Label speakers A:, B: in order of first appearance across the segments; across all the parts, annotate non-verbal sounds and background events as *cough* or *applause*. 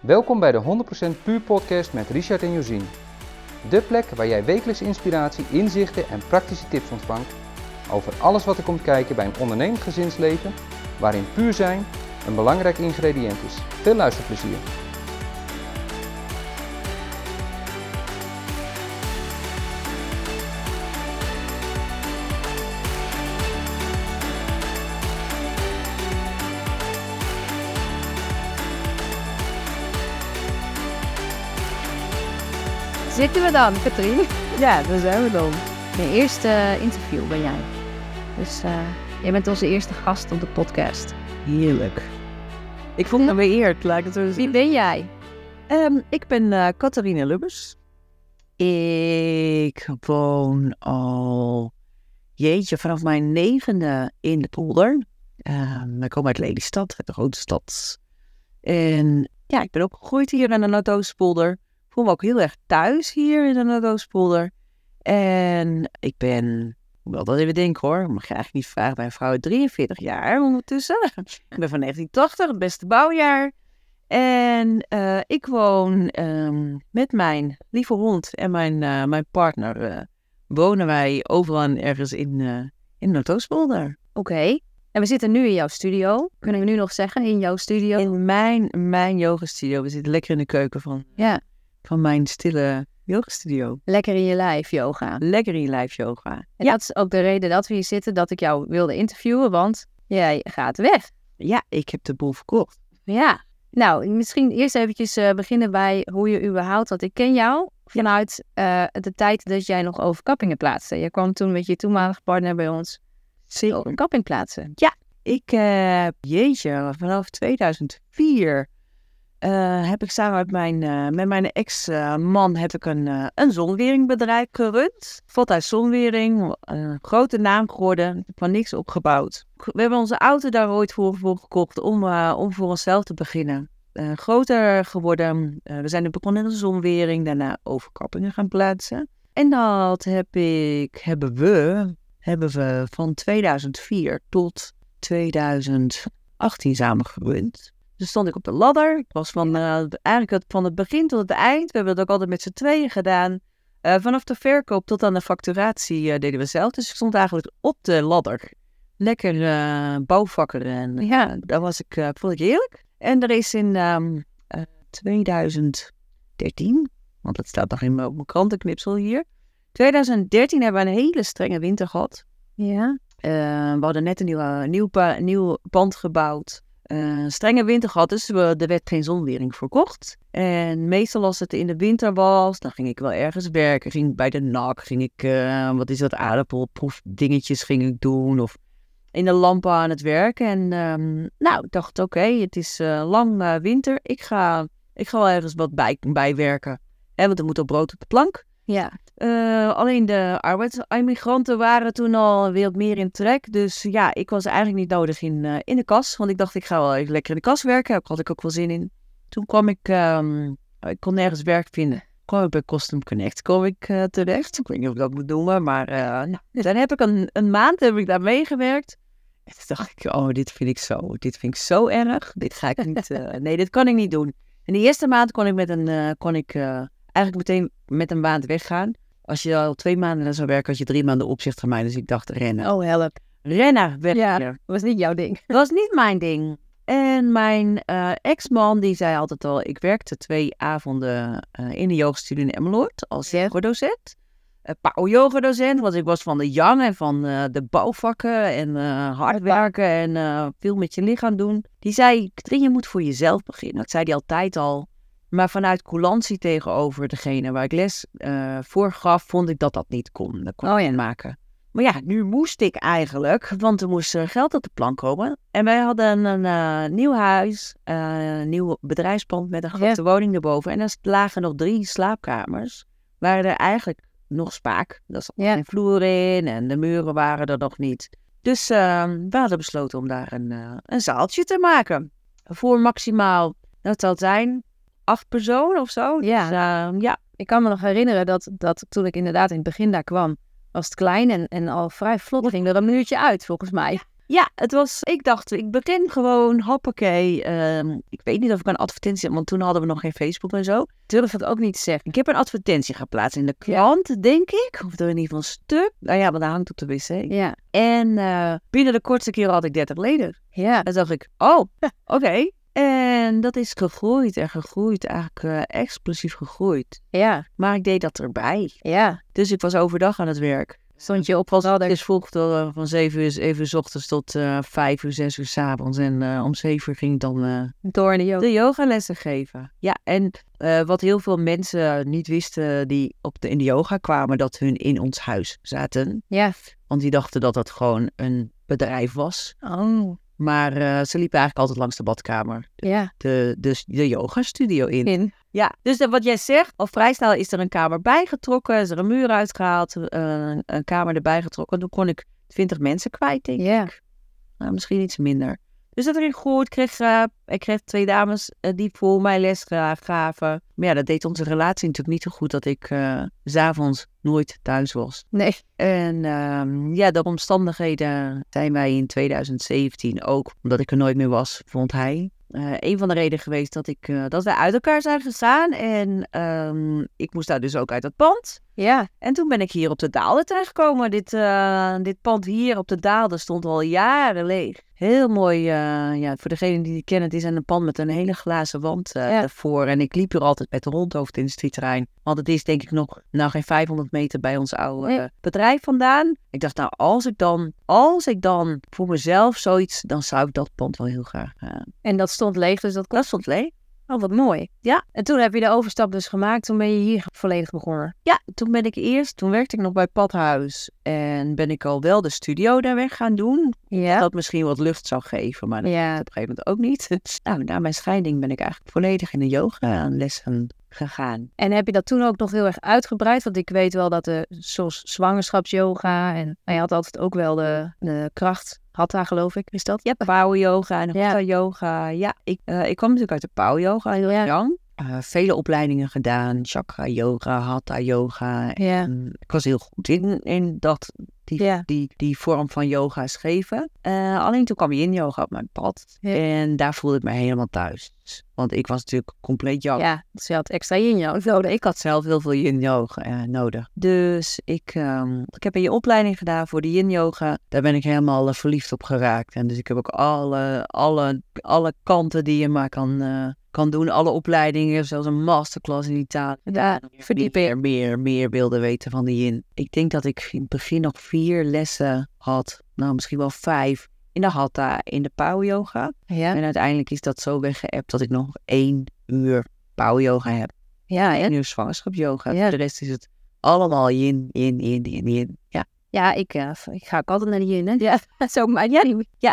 A: Welkom bij de 100% Puur Podcast met Richard en Josien. De plek waar jij wekelijks inspiratie, inzichten en praktische tips ontvangt over alles wat er komt kijken bij een ondernemend gezinsleven, waarin puur zijn een belangrijk ingrediënt is. Veel luisterplezier!
B: Zitten we dan, Katrien?
C: Ja, daar zijn we dan.
B: Mijn eerste eh, interview ben jij. Dus eh, jij bent onze eerste gast op de podcast.
C: Heerlijk. Ik voel me beëerd, laat ik het zo
B: Wie
C: zien.
B: ben jij?
C: Ehm, ik ben eh Catharina Lubbers. Ik woon al, jeetje, vanaf mijn negende in de polder. Ehm, ik kom uit Lelystad, de grote stad. En ja, ik ben opgegroeid hier in de Noordoostpolder. Ik voel me ook heel erg thuis hier in de Noordoostpolder. En ik ben, wel dat even denken hoor, mag je eigenlijk niet vragen bij een vrouw 43 jaar ondertussen. ik ben van 1980, het beste bouwjaar. En eh, ik woon ehm, met mijn lieve hond en mijn, eh, mijn partner. eh, wonen wij overal en ergens in, eh in Noordoostpolder.
B: Oké. En we zitten nu in jouw studio. Kunnen we nu nog zeggen, in jouw studio?
C: In mijn, mijn yogastudio. We zitten lekker in de keuken van,
B: Ja.
C: van mijn stille yogastudio.
B: Lekker in je lijf, yoga.
C: Lekker in live yoga.
B: En dat is ook de reden dat we hier zitten, dat ik jou wilde interviewen, want jij gaat weg.
C: Ja, ik heb de boel verkocht.
B: Ja. Nou, misschien eerst eventjes eh, beginnen bij hoe je überhaupt, want ik ken jou vanuit eh, de tijd dat jij nog overkappingen plaatste. Je kwam toen met je toenmalige partner bij ons overkapping plaatsen.
C: Ik heb, jeetje, vanaf 2004 eh, heb ik samen met mijn, eh, met mijn ex-man heb ik een, eh, een zonweringbedrijf gerund. Valthuis Zonwering, een grote naam geworden, Ik heb van niks opgebouwd. We hebben onze auto daar ooit voor, voor gekocht om, eh, om voor onszelf te beginnen. Eh, groter geworden, Eh, we zijn begonnen in de zonwering, daarna overkappingen gaan plaatsen. En dat heb ik, hebben we, hebben we van 2004 tot 2018 samengewoond. Dus stond ik op de ladder. Ik was van, eh, eigenlijk het, van het begin tot het eind. We hebben dat ook altijd met z'n tweeën gedaan. Eh, vanaf de verkoop tot aan de facturatie eh, deden we zelf. Dus ik stond eigenlijk op de ladder. Lekker eh, bouwvakker. En ja, dat was ik, eh, vond ik heerlijk. En er is in ehm, eh, 2013, want dat staat nog in mijn, op mijn krantenknipsel hier. 2013 hebben we een hele strenge winter gehad.
B: Ja.
C: Eh, we hadden net een nieuw, eh, nieuw, pa- nieuw pand gebouwd. Eh, een strenge winter gehad, dus we, er werd geen zonwering verkocht. En meestal als het in de winter was, dan ging ik wel ergens werken. Ging ik bij de NAC, ging ik, eh, wat is dat, aardappelproefdingetjes ging ik doen. Of in de lampen aan het werk. En ehm, nou, ik dacht, oké, het is eh, lang eh, winter. Ik ga, ik ga wel ergens wat bij, bijwerken. Hè, want er moet ook brood op de plank.
B: Ja.
C: Eh, alleen de arbeidsimmigranten waren toen al weer wat meer in trek. Dus ja, ik was eigenlijk niet nodig in, eh, in de kas. Want ik dacht, ik ga wel even lekker in de kas werken. Daar had ik ook wel zin in. Toen kwam ik, ehm, ik kon nergens werk vinden. Kwam ik bij Custom Connect kwam ik, eh, terecht. Ik weet niet of ik dat moet noemen, maar eh nou, dan heb ik een, een maand heb ik daar meegewerkt. En toen dacht ik, oh, dit vind ik zo, dit vind ik zo erg. Dit ga ik
B: *laughs*
C: niet, eh, nee, dit kan ik niet doen. En de eerste maand kon ik, met een, eh, kon ik eh, eigenlijk meteen met een maand weggaan. Als je al twee maanden aan zou werken, had je drie maanden opzicht van mij. Dus ik dacht, rennen.
B: Oh, help.
C: Rennen, weg.
B: Ja.
C: hier.
B: was niet jouw ding.
C: Dat *laughs* was niet mijn ding. En mijn eh, ex-man, die zei altijd al... Ik werkte twee avonden eh, in de yogastudio in Emmeloord als
B: Ja.
C: yogadocent. Een power yoga docent, want ik was van de yang en van eh, de bouwvakken en eh, hard werken en eh, veel met je lichaam doen. Die zei, Katrien, je moet voor jezelf beginnen. Dat zei hij altijd al. Maar vanuit coulantie tegenover degene waar ik les eh, voor gaf, vond ik dat dat niet kon. Dat kon
B: Oh
C: ik
B: ja.
C: niet maken. Maar ja, nu moest ik eigenlijk, want er moest eh, geld op de plank komen. En wij hadden een eh, nieuw huis, eh, een nieuw bedrijfspand met een
B: Oh, Ja.
C: grote woning erboven. En er lagen nog drie slaapkamers. Waren er eigenlijk nog spaak. Er zat
B: Ja.
C: geen vloer in en de muren waren er nog niet. Dus eh, we hadden besloten om daar een, eh, een zaaltje te maken. Voor maximaal, dat zal zijn, acht personen of zo.
B: Ja.
C: Dus, eh, ja,
B: Ik kan me nog herinneren dat, dat toen ik inderdaad in het begin daar kwam, was het klein en, en al vrij vlot ging er een muurtje uit, volgens mij.
C: Ja, het was, ik dacht, ik begin gewoon, hoppakee. ehm, ik weet niet of ik een advertentie heb, want toen hadden we nog geen Facebook en zo.
B: Durf het ook niet te zeggen.
C: Ik heb een advertentie geplaatst in de krant, denk ik. Of door in ieder geval een stuk. Nou ja, maar daar hangt op de wc.
B: Ja.
C: En eh, binnen de kortste keer had ik 30 leden.
B: Ja.
C: En toen dacht ik, oh, oké. En dat is gegroeid en gegroeid, eigenlijk eh, explosief gegroeid.
B: Ja.
C: Maar ik deed dat erbij.
B: Ja.
C: Dus ik was overdag aan het werk.
B: Stond je op als
C: Het is vroeg door, eh, van 7 uur, 7 uur 's ochtends tot eh 5 uur, 6 uur 's avonds. En eh, om 7 uur ging ik dan eh,
B: door in de jood.
C: de yogalessen geven. Ja, en eh, wat heel veel mensen niet wisten die op de, in de yoga kwamen, dat hun in ons huis zaten.
B: Ja.
C: Want die dachten dat dat gewoon een bedrijf was.
B: Oh.
C: Maar eh, ze liepen eigenlijk altijd langs de badkamer,
B: Ja.
C: de, de, de yoga-studio in.
B: In.
C: Ja, dus eh, wat jij zegt, al vrij snel is er een kamer bijgetrokken, is er een muur uitgehaald, eh, een, een kamer erbij getrokken. Toen kon ik 20 mensen kwijt, denk ik.
B: Ja.
C: Nou, misschien iets minder. Dus dat ging goed. Ik kreeg, eh, ik kreeg twee dames eh, die voor mij les gra- gaven. Maar ja, dat deed onze relatie natuurlijk niet zo goed dat ik eh, 's s'avonds nooit thuis was.
B: Nee.
C: En ehm, ja, door omstandigheden zijn wij in 2017 ook, omdat ik er nooit meer was, vond hij. eh, een van de redenen geweest dat, ik, eh, dat wij uit elkaar zijn gegaan. En ehm, ik moest daar dus ook uit dat pand.
B: Ja.
C: En toen ben ik hier op de Daalder terechtgekomen. Dit, eh, dit pand hier op de Daalder stond al jaren leeg. Heel mooi, eh, ja, voor degenen die het kennen, het is een pand met een hele glazen wand eh
B: Ja.
C: ervoor. En ik liep hier altijd met de hond over het industrieterrein. Want het is denk ik nog nou, geen 500 meter bij ons oude
B: Nee.
C: eh, bedrijf vandaan. Ik dacht, nou, als ik dan, als ik dan voor mezelf zoiets, dan zou ik dat pand wel heel graag. eh
B: En dat stond leeg, dus dat kon.
C: dat stond leeg.
B: Oh, wat mooi.
C: Ja.
B: En toen heb je de overstap dus gemaakt. Toen ben je hier volledig begonnen.
C: Ja, toen ben ik eerst, toen werkte ik nog bij Padhuis. En ben ik al wel de studio daar weg gaan doen.
B: Ja.
C: dat misschien wat lucht zou geven, maar dat
B: Ja.
C: op een gegeven moment ook niet. *laughs* Nou, na mijn scheiding ben ik eigenlijk volledig in de yoga aan lessen gegaan.
B: En heb je dat toen ook nog heel erg uitgebreid? Want ik weet wel dat de zoals zwangerschapsyoga en maar je had altijd ook wel de, de kracht. Had daar geloof ik, is dat?
C: Ja, power yoga en
B: Ja.
C: hatha yoga. Ja, ik, eh, ik kwam natuurlijk uit de power yoga heel
B: Ja.
C: lang. Eh, vele opleidingen gedaan, chakra yoga, hatha yoga.
B: Ja.
C: En Mm, ik was heel goed in, in dat, die,
B: Ja.
C: die, die vorm van yoga schreven. Eh, alleen toen kwam yin yoga op mijn pad.
B: Ja.
C: En daar voelde ik me helemaal thuis. Want ik was natuurlijk compleet jong.
B: Ja, dus je had extra yin jou nodig.
C: Ik had zelf heel veel yin yoga eh, nodig. Dus ik, ehm, ik heb een opleiding gedaan voor de yin yoga. Daar ben ik helemaal eh, verliefd op geraakt. En dus ik heb ook alle, alle, alle kanten die je maar kan, eh, kan doen. Alle opleidingen, zelfs een masterclass in Italië.
B: Ja, verdiep in.
C: meer, meer, meer wilde weten van de yin. Ik denk dat ik in het begin nog vier lessen had. Nou, misschien wel vijf. In de hatha, in de power yoga.
B: Ja.
C: En uiteindelijk is dat zo weggeëpt dat ik nog één uur power yoga heb
B: Ja,
C: en
B: en-
C: nu zwangerschap yoga.
B: Ja.
C: Voor de rest is het allemaal yin, yin, yin, yin, yin. Ja.
B: ja ik, eh, ik ga ook altijd naar de yin. Hè? *laughs* Ja, dat is ook mijn
C: ja,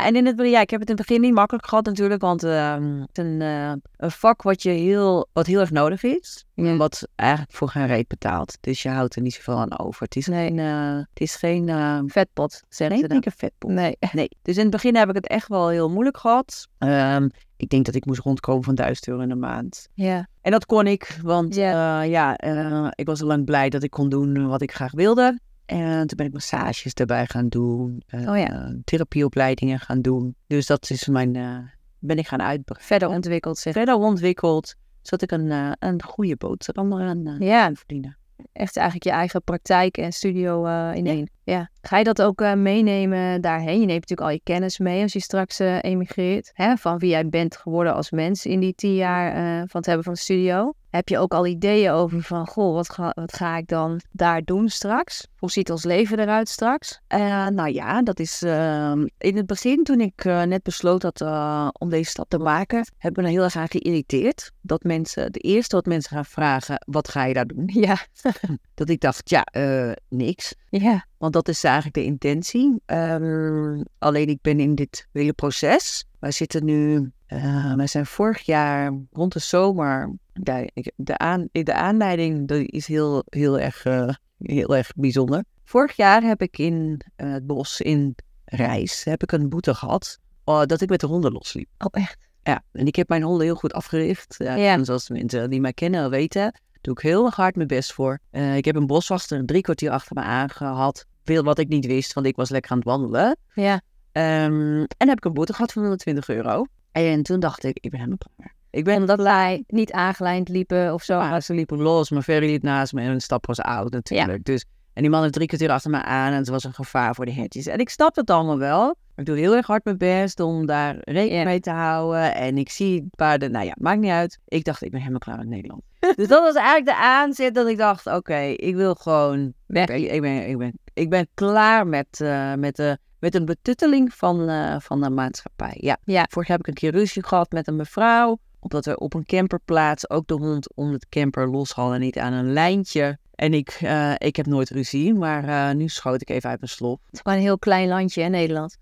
C: en in het, ja, ik heb het in het begin niet makkelijk gehad natuurlijk, want ehm, het is een, eh, een vak wat, je heel, wat heel erg nodig is.
B: Ja.
C: En wat eigenlijk voor geen reet betaalt. Dus je houdt er niet zoveel aan over. Het is geen, eh, het is geen, eh,
B: vetpot, zeggen
C: geen
B: ze dan.
C: dikke vetpot.
B: Nee.
C: Nee, dus in het begin heb ik het echt wel heel moeilijk gehad. Ehm, ik denk dat ik moest rondkomen van 1000 euro in de maand.
B: Ja.
C: En dat kon ik, want
B: Ja.
C: eh, ja, eh, ik was al lang blij dat ik kon doen wat ik graag wilde. En toen ben ik massages erbij gaan doen, eh,
B: Oh ja.
C: eh, therapieopleidingen gaan doen. Dus dat is mijn, eh, ben ik gaan uitbreiden.
B: Verder ontwikkeld zich.
C: Verder ontwikkeld, zodat ik een, eh, een goede boterham eraan eh,
B: Ja,
C: kan verdienen.
B: echt eigenlijk je eigen praktijk en studio eh in één. Ja. Ga je dat ook eh, meenemen daarheen? Je neemt natuurlijk al je kennis mee als je straks eh, emigreert. Hè? Van wie jij bent geworden als mens in die tien jaar eh, van het hebben van de studio. Heb je ook al ideeën over van, goh, wat ga, wat ga ik dan daar doen straks? Hoe ziet ons leven eruit straks?
C: Eh, nou ja, dat is ehm, in het begin toen ik eh, net besloot had eh, om deze stap te maken, heb ik me er heel erg aan geïrriteerd. Dat mensen, het eerste wat mensen gaan vragen, wat ga je daar doen?
B: Ja,
C: *laughs* Dat ik dacht, ja, eh, niks.
B: ja,
C: Want dat is eigenlijk de intentie. Ehm, alleen ik ben in dit hele proces. Wij zitten nu, eh, wij zijn vorig jaar rond de zomer. Ja, ik- de, aan, de aanleiding die is heel, heel, erg, eh, heel erg bijzonder. Vorig jaar heb ik in eh, het bos in Rijs heb ik een boete gehad. eh, dat ik met de honden losliep.
B: oh echt.
C: Ja, en ik heb mijn honden heel goed afgericht. Ja,
B: Ja.
C: en Zoals de mensen die mij kennen weten, doe ik heel erg hard mijn best voor. Eh, ik heb een boswachter drie kwartier achter me aangehad. Veel wat ik niet wist, want ik was lekker aan het wandelen.
B: Ja,
C: Ehm, en dan heb ik een boete gehad van 120 euro. En toen dacht ik, ik ben helemaal klaar. Ik ben
B: Omdat wij niet aangelijnd liepen of zo.
C: Ah, ze liepen los, maar Ferry liep naast me en een stap was oud natuurlijk. Dus, en die man heeft drie kwartier achter me aan en het was een gevaar voor de hertjes. En ik snap dat allemaal wel. Ik doe heel erg hard mijn best om daar rekening
B: Ja.
C: mee te houden. En ik zie paarden, nou ja, maakt niet uit. Ik dacht, ik ben helemaal klaar met Nederland. *laughs* dus dat was eigenlijk de aanzet dat ik dacht, oké, ik wil gewoon
B: Weg.
C: Ik, ik ben, ik, ben, ik ben klaar met, eh, met, de, met een betutteling van, eh, van de maatschappij. Ja.
B: Ja.
C: Vorig jaar heb ik een keer ruzie gehad met een mevrouw. Omdat we op een camperplaats ook de hond om het camper los hadden. Niet aan een lijntje. En ik, eh, ik heb nooit ruzie, maar eh, nu schoot ik even uit mijn *laughs* slop.
B: Het is gewoon een heel klein landje in Nederland.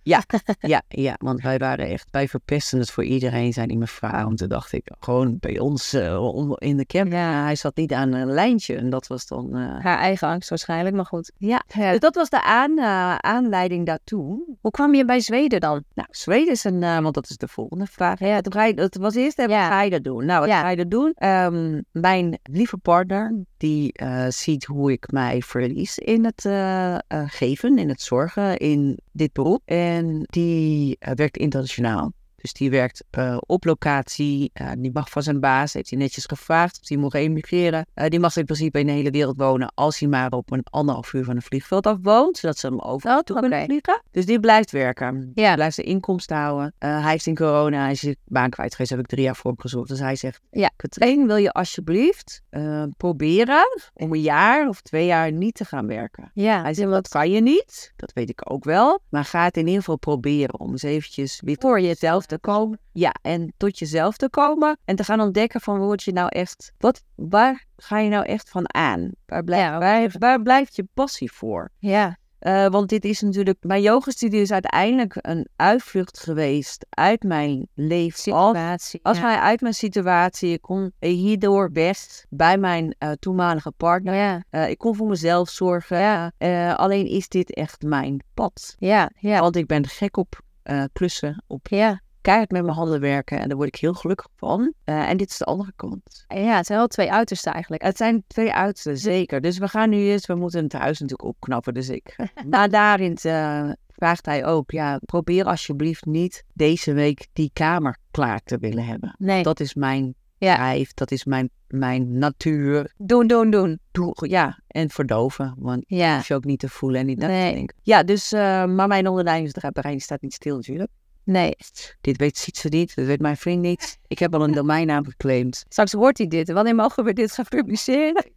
C: Ja, ja, want wij waren echt, wij verpesten het voor iedereen, zei die mevrouw. En toen dacht ik, gewoon bij ons eh, om- in de camper. Ja, hij zat niet aan een lijntje en dat was dan... eh,
B: Haar eigen angst waarschijnlijk, maar goed.
C: ja, dus dat was de aan, eh, aanleiding daartoe.
B: Hoe kwam je bij Zweden dan?
C: Nou, Zweden is een, eh, want dat is de volgende vraag. Ja, het, ga je, het was eerst even,
B: Ja.
C: wat ga je dat doen? Nou, wat
B: Ja.
C: ga je dat doen? Ehm, mijn lieve partner, die eh, ziet hoe ik mij verlies in het eh, eh, geven, in het zorgen, in dit beroep. En die eh, werkt internationaal. Dus die werkt eh, op locatie. Eh, die mag van zijn baas, heeft hij netjes gevraagd of die mocht emigreren. Eh, die mag in principe in de hele wereld wonen als hij maar op een anderhalf uur van een vliegveld af woont. Zodat ze hem over
B: Oh,
C: toe kunnen
B: oké.
C: vliegen. Dus die blijft werken.
B: Ja.
C: Die blijft zijn inkomsten houden. Eh, hij heeft in corona, hij is zijn baan kwijt geweest, heb ik drie jaar voor hem gezocht. Dus hij zegt,
B: Ja.
C: Katrien, wil je alsjeblieft eh, proberen om een jaar of twee jaar niet te gaan werken?
B: Ja,
C: Hij zegt, dat kan je niet. Dat weet ik ook wel. Maar ga het in ieder geval proberen om eens eventjes weer voor jezelf te komen. Ja, en tot jezelf te komen. En te gaan ontdekken van word je nou echt... Wat, waar ga je nou echt van aan? Waar, blijf,
B: Ja, oké.
C: waar, waar blijft je passie voor?
B: ja.
C: Eh, want dit is natuurlijk, mijn yogastudio is uiteindelijk een uitvlucht geweest uit mijn leven. Als,
B: Situatie.
C: als
B: ja.
C: mij uit mijn situatie, ik kon eh, hierdoor best bij mijn eh, toenmalige partner.
B: Nou Ja,
C: Eh, ik kon voor mezelf zorgen. Eh, alleen is dit echt mijn pad.
B: ja, ja.
C: Want ik ben gek op eh, klussen, op
B: Ja,
C: keihard met mijn handen werken. En daar word ik heel gelukkig van. Eh, en dit is de andere kant.
B: ja, het zijn wel twee uitersten eigenlijk.
C: Het zijn twee uitersten, zeker. Dus we gaan nu eens, we moeten het huis natuurlijk opknappen. Dus
B: *laughs*
C: ik. Maar daarin eh, vraagt hij ook, ja, probeer alsjeblieft niet deze week die kamer klaar te willen hebben.
B: Nee,
C: Dat is mijn
B: Ja.
C: drijf, dat is mijn, mijn natuur.
B: doen, doen, doen.
C: Doe- Ja, en verdoven, want
B: Ja,
C: hoef je ook niet te voelen en niet na
B: Nee.
C: te denken. Ja, dus, eh, maar mijn ondernemersbrein staat niet stil natuurlijk.
B: nee.
C: Dit weet Sietse niet, dat weet mijn vriend niet. Ik heb
B: *laughs*
C: al een domeinnaam geclaimd.
B: Straks hoort hij dit. Wanneer mogen we dit gaan publiceren?
C: *laughs*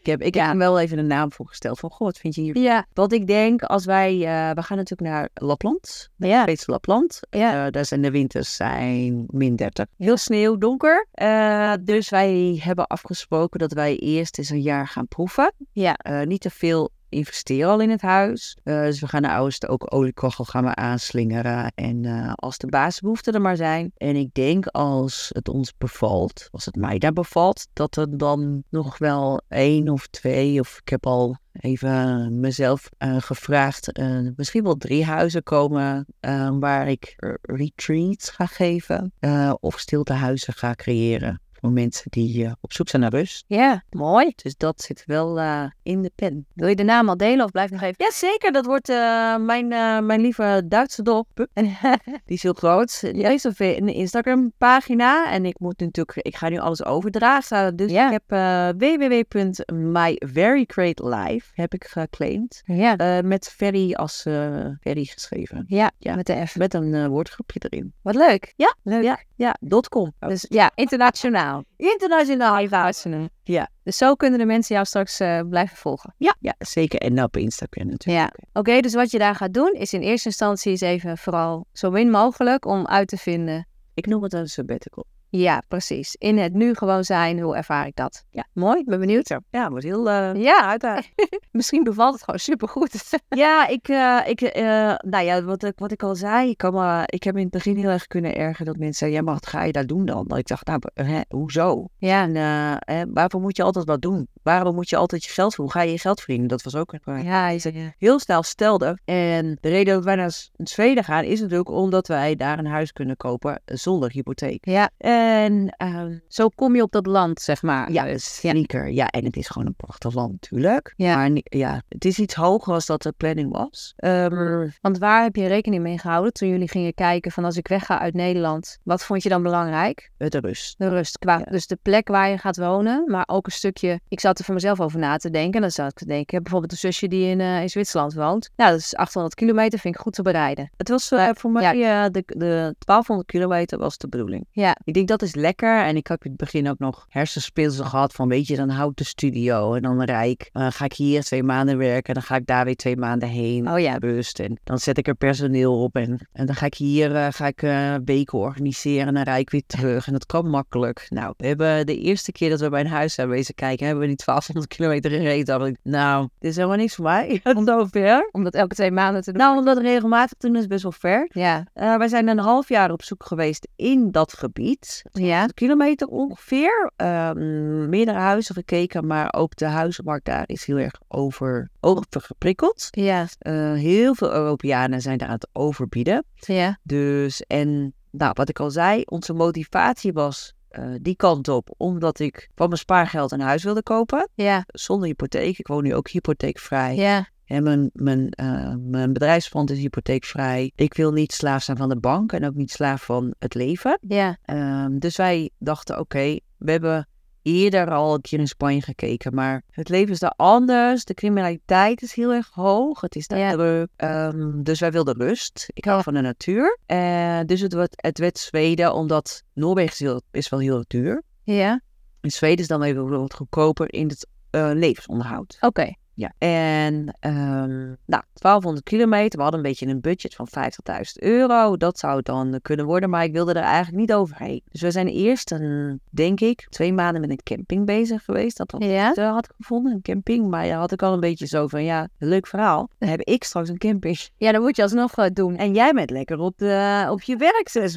C: Ik heb, ik
B: Ja.
C: heb hem wel even een naam voorgesteld van, god, vind je hier...
B: ja,
C: Wat ik denk, als wij, eh, we gaan natuurlijk naar Lapland,
B: ja,
C: Zweedse Lapland.
B: Ja.
C: Eh, daar zijn de winters zijn min 30. Heel sneeuw, donker. Eh, dus wij hebben afgesproken dat wij eerst eens een jaar gaan proeven.
B: Ja.
C: Eh, niet te veel investeren al in het huis. Eh, dus we gaan de oudste ook oliekachel gaan we aanslingeren. En eh, als de basisbehoeften er maar zijn. En ik denk als het ons bevalt, als het mij daar bevalt, dat er dan nog wel één of twee, of ik heb al even mezelf eh, gevraagd, eh, misschien wel drie huizen komen eh, waar ik eh, retreats ga geven eh, of stiltehuizen ga creëren voor mensen die eh, op zoek zijn naar rust.
B: ja. Mooi.
C: Dus dat zit wel eh, in de pen.
B: Wil je de naam al delen of blijf nog even?
C: Ja, zeker. Dat wordt eh, mijn, eh, mijn lieve Duitse dog. Pup. En, die is heel groot. Die heeft een ve- een Instagram-pagina. En ik moet natuurlijk... Ik ga nu alles overdragen. Dus
B: Ja.
C: ik heb eh www.myverycreatelife heb ik geclaimd.
B: Ja,
C: Eh, met Ferry als eh Ferry geschreven.
B: ja,
C: Ja.
B: met de F.
C: Met een eh, woordgroepje erin.
B: Wat leuk.
C: Ja,
B: leuk.
C: Ja, ja. Dot .com.
B: Dus ja, internationaal.
C: internationaal.
B: Internationaal.
C: Ja.
B: Dus zo kunnen de mensen jou straks eh, blijven volgen.
C: Ja, ja, zeker. En nou, op Instagram natuurlijk.
B: Ja. Oké, dus wat je daar gaat doen is in eerste instantie is even vooral zo min mogelijk om uit te vinden.
C: Ik noem het een sabbatical.
B: Ja, precies. In het nu gewoon zijn, hoe ervaar ik dat?
C: Ja.
B: Mooi, ben benieuwd.
C: Ja, wordt heel... eh,
B: Ja, uiteraard. *laughs* Misschien bevalt het gewoon supergoed.
C: Ja, ik, eh, ik eh, nou ja, wat, ik- wat ik al zei, ik, kan me- ik heb in het begin heel erg kunnen ergeren dat mensen zeiden, ja, maar wat ga je daar doen dan? Dat ik dacht, nou, hè, hoezo?
B: ja,
C: En eh, hè, waarvoor moet je altijd wat doen? Waarom moet je altijd je geld verdienen? Hoe ga je je geld verdienen? Dat was ook een eh,
B: *laughs*
C: vraag
B: ja, ja,
C: ze-
B: ja.
C: heel snel stelde. En de reden dat wij naar S- Zweden gaan is natuurlijk omdat wij daar een huis kunnen kopen eh, zonder hypotheek.
B: Ja.
C: Eh,
B: En ehm, zo kom je op dat land, zeg maar.
C: Ja,
B: Dus, ja.
C: Ah, Zeker, ja. En het is gewoon een prachtig land natuurlijk.
B: Ja.
C: Maar ni- ja, het is iets hoger als dat de planning was. Ehm,
B: Want waar heb je rekening mee gehouden toen jullie gingen kijken van als ik wegga uit Nederland, wat vond je dan belangrijk?
C: de rust.
B: De rust, qua,
C: Ja.
B: dus de plek waar je gaat wonen, maar ook een stukje, ik zat er voor mezelf over na te denken en dan zat ik te denken, ik heb bijvoorbeeld een zusje die in, eh, in Zwitserland woont. Nou, dat is 800 kilometer, vind ik goed te bereiden.
C: Het was eh, voor mij eh, de, de 1200 kilometer was de bedoeling.
B: Ja.
C: Ik denk dat is lekker. En ik heb in het begin ook nog hersenspinsel gehad van weet je, dan hou ik de studio en dan rijk. Eh, ga ik hier twee maanden werken, dan ga ik daar weer twee maanden heen.
B: Oh ja,
C: Rust en dan zet ik er personeel op en, en dan ga ik hier eh, ga ik, eh, weken organiseren en dan rijd ik weer terug en dat kan makkelijk. Nou, we hebben de eerste keer dat we bij een huis zijn wezen kijken, hebben we die 1200 kilometer gereden. Dacht ik, nou, dit is helemaal niks voor *laughs* mij. Zo ver.
B: om dat elke twee maanden te doen.
C: Nou, omdat regelmatig toen is het best wel ver.
B: Ja,
C: Eh, wij zijn een half jaar op zoek geweest in dat gebied.
B: ja,
C: Een kilometer ongeveer. Ehm, meerdere huizen gekeken, maar ook de huizenmarkt daar is heel erg over, overgeprikkeld.
B: ja,
C: Eh, heel veel Europeanen zijn daar aan het overbieden.
B: ja,
C: Dus, en nou, wat ik al zei, onze motivatie was eh, die kant op, omdat ik van mijn spaargeld een huis wilde kopen.
B: ja,
C: Zonder hypotheek. Ik woon nu ook hypotheekvrij.
B: ja,
C: En mijn, mijn, eh, mijn bedrijfspand is hypotheekvrij. Ik wil niet slaaf zijn van de bank en ook niet slaaf van het leven.
B: ja,
C: Ehm, dus wij dachten, oké, we hebben eerder al een keer in Spanje gekeken. Maar het leven is daar anders. De criminaliteit is heel erg hoog. Het is daar
B: Ja.
C: druk. Ehm, dus wij wilden rust. Ik hou van de natuur. Eh, dus het werd, het werd Zweden, omdat Noorwegen is, heel, is wel heel duur.
B: ja,
C: In Zweden is dan even wat goedkoper in het eh, levensonderhoud.
B: oké.
C: Ja. En ehm, nou, 1200 kilometer. We hadden een beetje een budget van 50.000 euro. Dat zou het dan eh, kunnen worden, maar ik wilde er eigenlijk niet overheen. Dus we zijn eerst, een, denk ik, twee maanden met een camping bezig geweest. Dat was
B: Ja,
C: eh, had ik gevonden, een camping. Maar ja, had ik al een beetje zo van, ja, leuk verhaal. Dan heb ik straks een camping.
B: ja, dan moet je alsnog eh, doen.
C: En jij bent lekker op, de, op je werk zes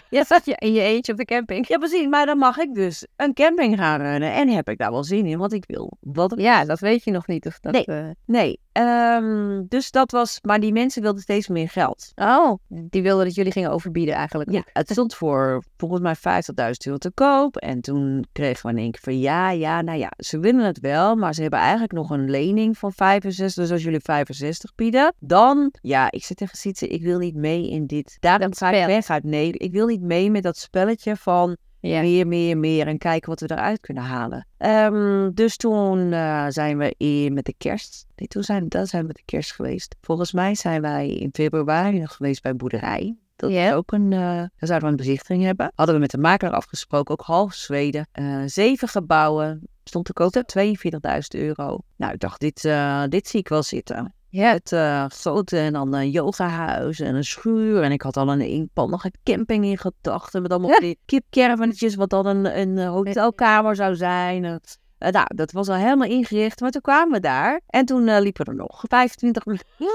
B: *laughs* Ja, zat je in je eentje *laughs* op de camping.
C: Ja, precies. Maar dan mag ik dus een camping gaan runnen. En heb ik daar wel zin in, want ik wil wat
B: Ja, dat weet je nog niet. Of dat,
C: Nee.
B: eh,
C: Nee, ehm, dus dat was... Maar die mensen wilden steeds meer geld.
B: Oh, die wilden dat jullie gingen overbieden eigenlijk.
C: Ja, het stond voor volgens mij 50.000 euro te koop. En toen kregen we in één keer van ja, ja, nou ja, ze willen het wel, maar ze hebben eigenlijk nog een lening van 65. Dus als jullie 65 bieden, dan, ja, ik zit tegen Sietse, ik wil niet mee in dit. Daarom
B: Dat
C: ga ik
B: spel.
C: weg uit. Nee, ik wil niet mee met dat spelletje van
B: Ja.
C: meer, meer, meer en kijken wat we eruit kunnen halen. Ehm, dus toen eh, zijn we in, met de kerst. Nee, toen zijn, dan zijn we met de kerst geweest. Volgens mij zijn wij in februari nog geweest bij een boerderij. Dat is
B: Ja.
C: ook een, eh daar zouden we een bezichtiging hebben. Hadden we met de makelaar afgesproken, ook half Zweden. Eh, zeven gebouwen, stond te koop, 42.000 euro. Nou, ik dacht, dit, eh, dit zie ik wel zitten
B: Ja.
C: het eh, grote en dan een yogahuis en een schuur. En ik had al een eenpannige camping in gedachten. Met allemaal
B: Ja.
C: die kipcaravannetjes, wat dan een, een eh, hotelkamer zou zijn. Eh, eh, nou, dat was al helemaal ingericht. Maar toen kwamen we daar. En toen eh, liepen er nog *laughs* 25,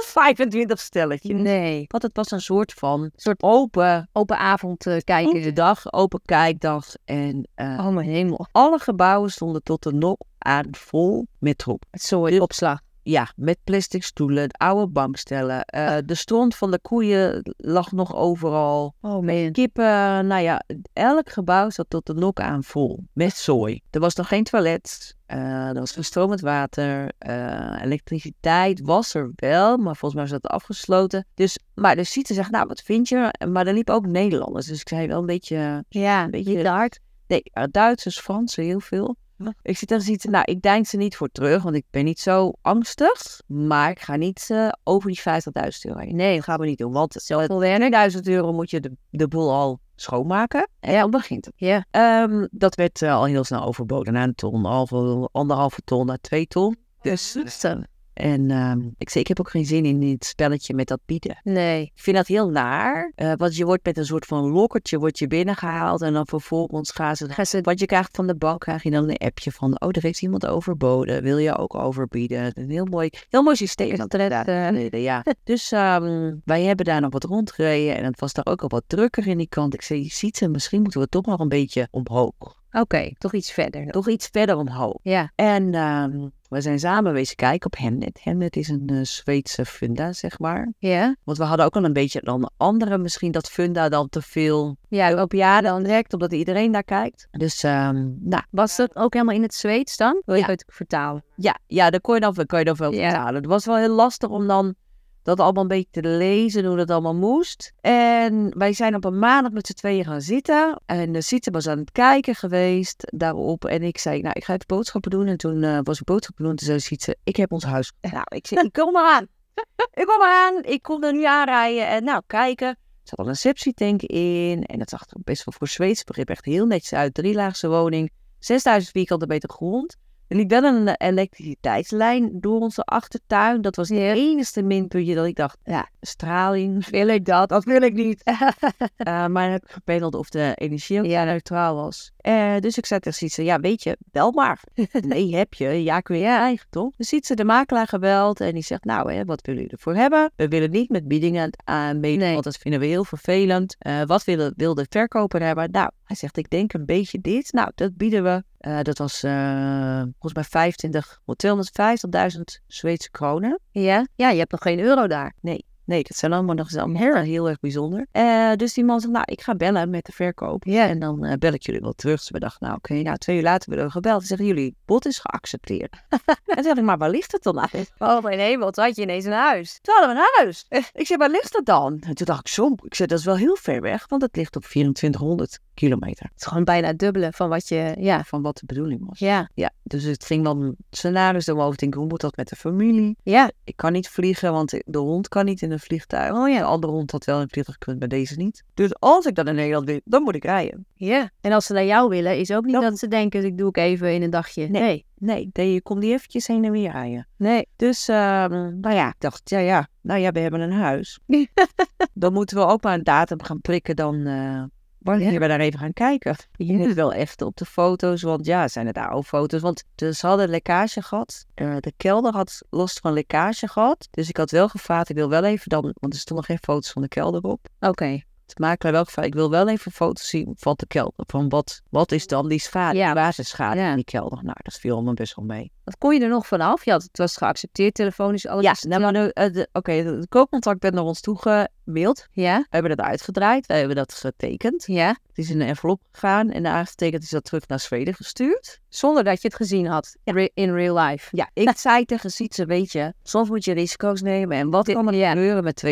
C: 25 stelletjes.
B: Nee.
C: Want het was een soort van soort open,
B: Open avond eh, kijken.
C: iedere dag, open kijkdag. En eh,
B: Oh mijn hemel.
C: alle gebouwen stonden tot de nok aan vol met troep.
B: Het soort opslag.
C: Ja, met plastic stoelen, oude bankstellen. eh, de stront van de koeien lag nog overal.
B: Oh man.
C: Kippen, nou ja, elk gebouw zat tot de nok aan vol. Met zooi. Er was nog geen toilet. eh, er was geen stromend water. eh, elektriciteit was er wel, maar volgens mij was dat afgesloten. Dus, maar de Sietse zegt, nou wat vind je? Maar er liepen ook Nederlanders. Dus ik zei wel een beetje...
B: Ja,
C: Een
B: een
C: beetje
B: beetje hard.
C: Nee, eh, Duitsers, Fransen, heel veel. Ik zit er zoiets, nou, ik dein ze niet voor terug, want ik ben niet zo angstig. Maar ik ga niet eh, over die 50.000 euro heen. Nee, dat gaan we niet doen, want zelfs
B: Moderne.
C: 1000 euro moet je de, de boel al schoonmaken. En dan begint het.
B: Ja.
C: Ehm, dat werd eh, al heel snel overboden. Na een ton, halve, anderhalve ton, naar twee ton. Dus, en ehm, ik zei, ik heb ook geen zin in dit spelletje met dat bieden.
B: Nee.
C: Ik vind dat heel naar, eh, want je wordt met een soort van lokkertje wordt je binnengehaald en dan vervolgens gaan ze, gaan ze- wat je krijgt van de bank, krijg je dan een appje van, oh, er heeft iemand overboden, wil je ook overbieden? Een heel mooi, heel mooi systeem.
B: Is
C: dat
B: dat,
C: inderdaad
B: eh,
C: geleden, ja. Dus ehm, wij hebben daar nog wat rondgereden en het was daar ook al wat drukker in die kant. Ik zei, je ziet ze, misschien moeten we toch nog een beetje omhoog.
B: Oké, toch iets verder.
C: Toch iets verder omhoog.
B: Ja.
C: En ehm, We zijn samen wezen kijken op Hemnet. Hemnet is een eh, Zweedse funda, zeg maar.
B: Ja?
C: Want we hadden ook al een beetje dan anderen misschien dat funda dan te veel.
B: Ja, op ja dan direct.
C: Omdat iedereen daar kijkt. Dus ehm, nou,
B: Was dat ook helemaal in het Zweeds dan? Wil je
C: Ja.
B: het vertalen?
C: ja, ja daar kon je dan, wel- kon je dan wel
B: Ja.
C: vertalen. Het was wel heel lastig om dan dat allemaal een beetje te lezen, hoe dat allemaal moest. En wij zijn op een maandag met z'n tweeën gaan zitten. En de Sietse was aan het kijken geweest daarop. En ik zei, nou, ik ga even boodschappen doen. En toen eh, was ik boodschappen doen. Toen zei Sietse, ik heb ons huis. Nou, ik zei, ik kom eraan. Ik kom eraan. Ik kom er nu aanrijden. En nou, kijken. Er zat al een sepsietank in. En dat zag er best wel voor Zweeds begrip echt heel netjes uit. Drielaagse woning, 6000 vierkante meter grond. Er liep wel een eh, elektriciteitslijn door onze achtertuin. Dat was het enige minpuntje dat ik dacht, ja, straling, *laughs* wil ik dat? Dat wil ik niet. *laughs* Eh, maar dan heb ik gepedeld of de energie ook
B: Ja.
C: neutraal was. Eh, dus ik zei tegen Sietse, ja, weet je, bel maar. *laughs* nee, heb je. Ja, kun je eigenlijk toch? Dus Sietse de makelaar gebeld en die zegt, nou, hè, wat willen jullie ervoor hebben? We willen niet met biedingen aan meedoen,
B: Nee.
C: want dat vinden we heel vervelend. Eh, wat wil, wil de verkoper hebben? Nou, hij zegt, ik denk een beetje dit. Nou, dat bieden we. Eh, dat was eh, volgens mij 25, 250.000 Zweedse kronen.
B: Ja? Ja, je hebt nog geen euro daar.
C: Nee, nee, dat zijn allemaal nog eens allemaal heel, heel erg bijzonder. Eh, dus die man zegt, nou, ik ga bellen met de verkoop.
B: Ja.
C: En dan eh, bel ik jullie wel terug. Dus we dachten, nou, oké, nou, twee uur later werden we gebeld. Ze zeggen, jullie bod is geaccepteerd. *laughs* en toen dacht ik, maar waar ligt het dan aan?
B: Oh mijn hemel, toen had je ineens een huis.
C: Toen hadden we een huis. Ik zei, waar ligt dat dan? En toen dacht ik, zo, ik zei, dat is wel heel ver weg, want het ligt op 2400 kilometer.
B: Het is gewoon bijna het dubbele van wat je... Ja.
C: Van wat de bedoeling was.
B: Ja.
C: Ja, dus het ging dan scenario's door mijn hoofd. Ik denk, hoe moet dat met de familie?
B: Ja.
C: ik kan niet vliegen, want de hond kan niet in een vliegtuig. Oh ja, een andere hond had wel in een vliegtuig gekund, maar deze niet. Dus als ik dan in Nederland wil, dan moet ik rijden.
B: Ja. En als ze naar jou willen, is ook niet
C: Dat-
B: dat ze denken, ik doe ik even in een dagje.
C: Nee. Nee, nee je kon die eventjes heen en weer rijden.
B: Nee.
C: Dus, ehm, nou ja, ik dacht, ja, ja, nou ja, we hebben een huis. dan moeten we ook maar een datum gaan prikken dan... eh, Wanneer we daar even gaan kijken. Je moet wel echt op de foto's, want ja, zijn het oude foto's. Want dus ze hadden lekkage gehad. Eh, de kelder had last van lekkage gehad. Dus ik had wel gevraagd, ik wil wel even dan... Want er stonden geen foto's van de kelder op.
B: Oké.
C: te maken welk geval. Ik wil wel even foto's zien van de kelder. Van wat, wat is dan die schade?
B: Ja.
C: Waar is de schade
B: Ja.
C: in die kelder? Nou, dat viel me best wel mee.
B: Wat kon je er nog vanaf? Ja, het was geaccepteerd, telefonisch, alles.
C: Ja,
B: is-
C: nou, maar nu, eh, de- oké, het koopcontact werd naar ons toegemaild.
B: ja.
C: We hebben dat uitgedraaid. Wij hebben dat getekend.
B: Ja.
C: Het is in een envelop gegaan en aangetekend is dat terug naar Zweden gestuurd.
B: Zonder dat je het gezien had. Re- in real life.
C: Ja,
B: *laughs*
C: ik zei tegen Sietse, weet je, soms moet je risico's nemen. En wat kan er
B: Ja.
C: gebeuren met 22.000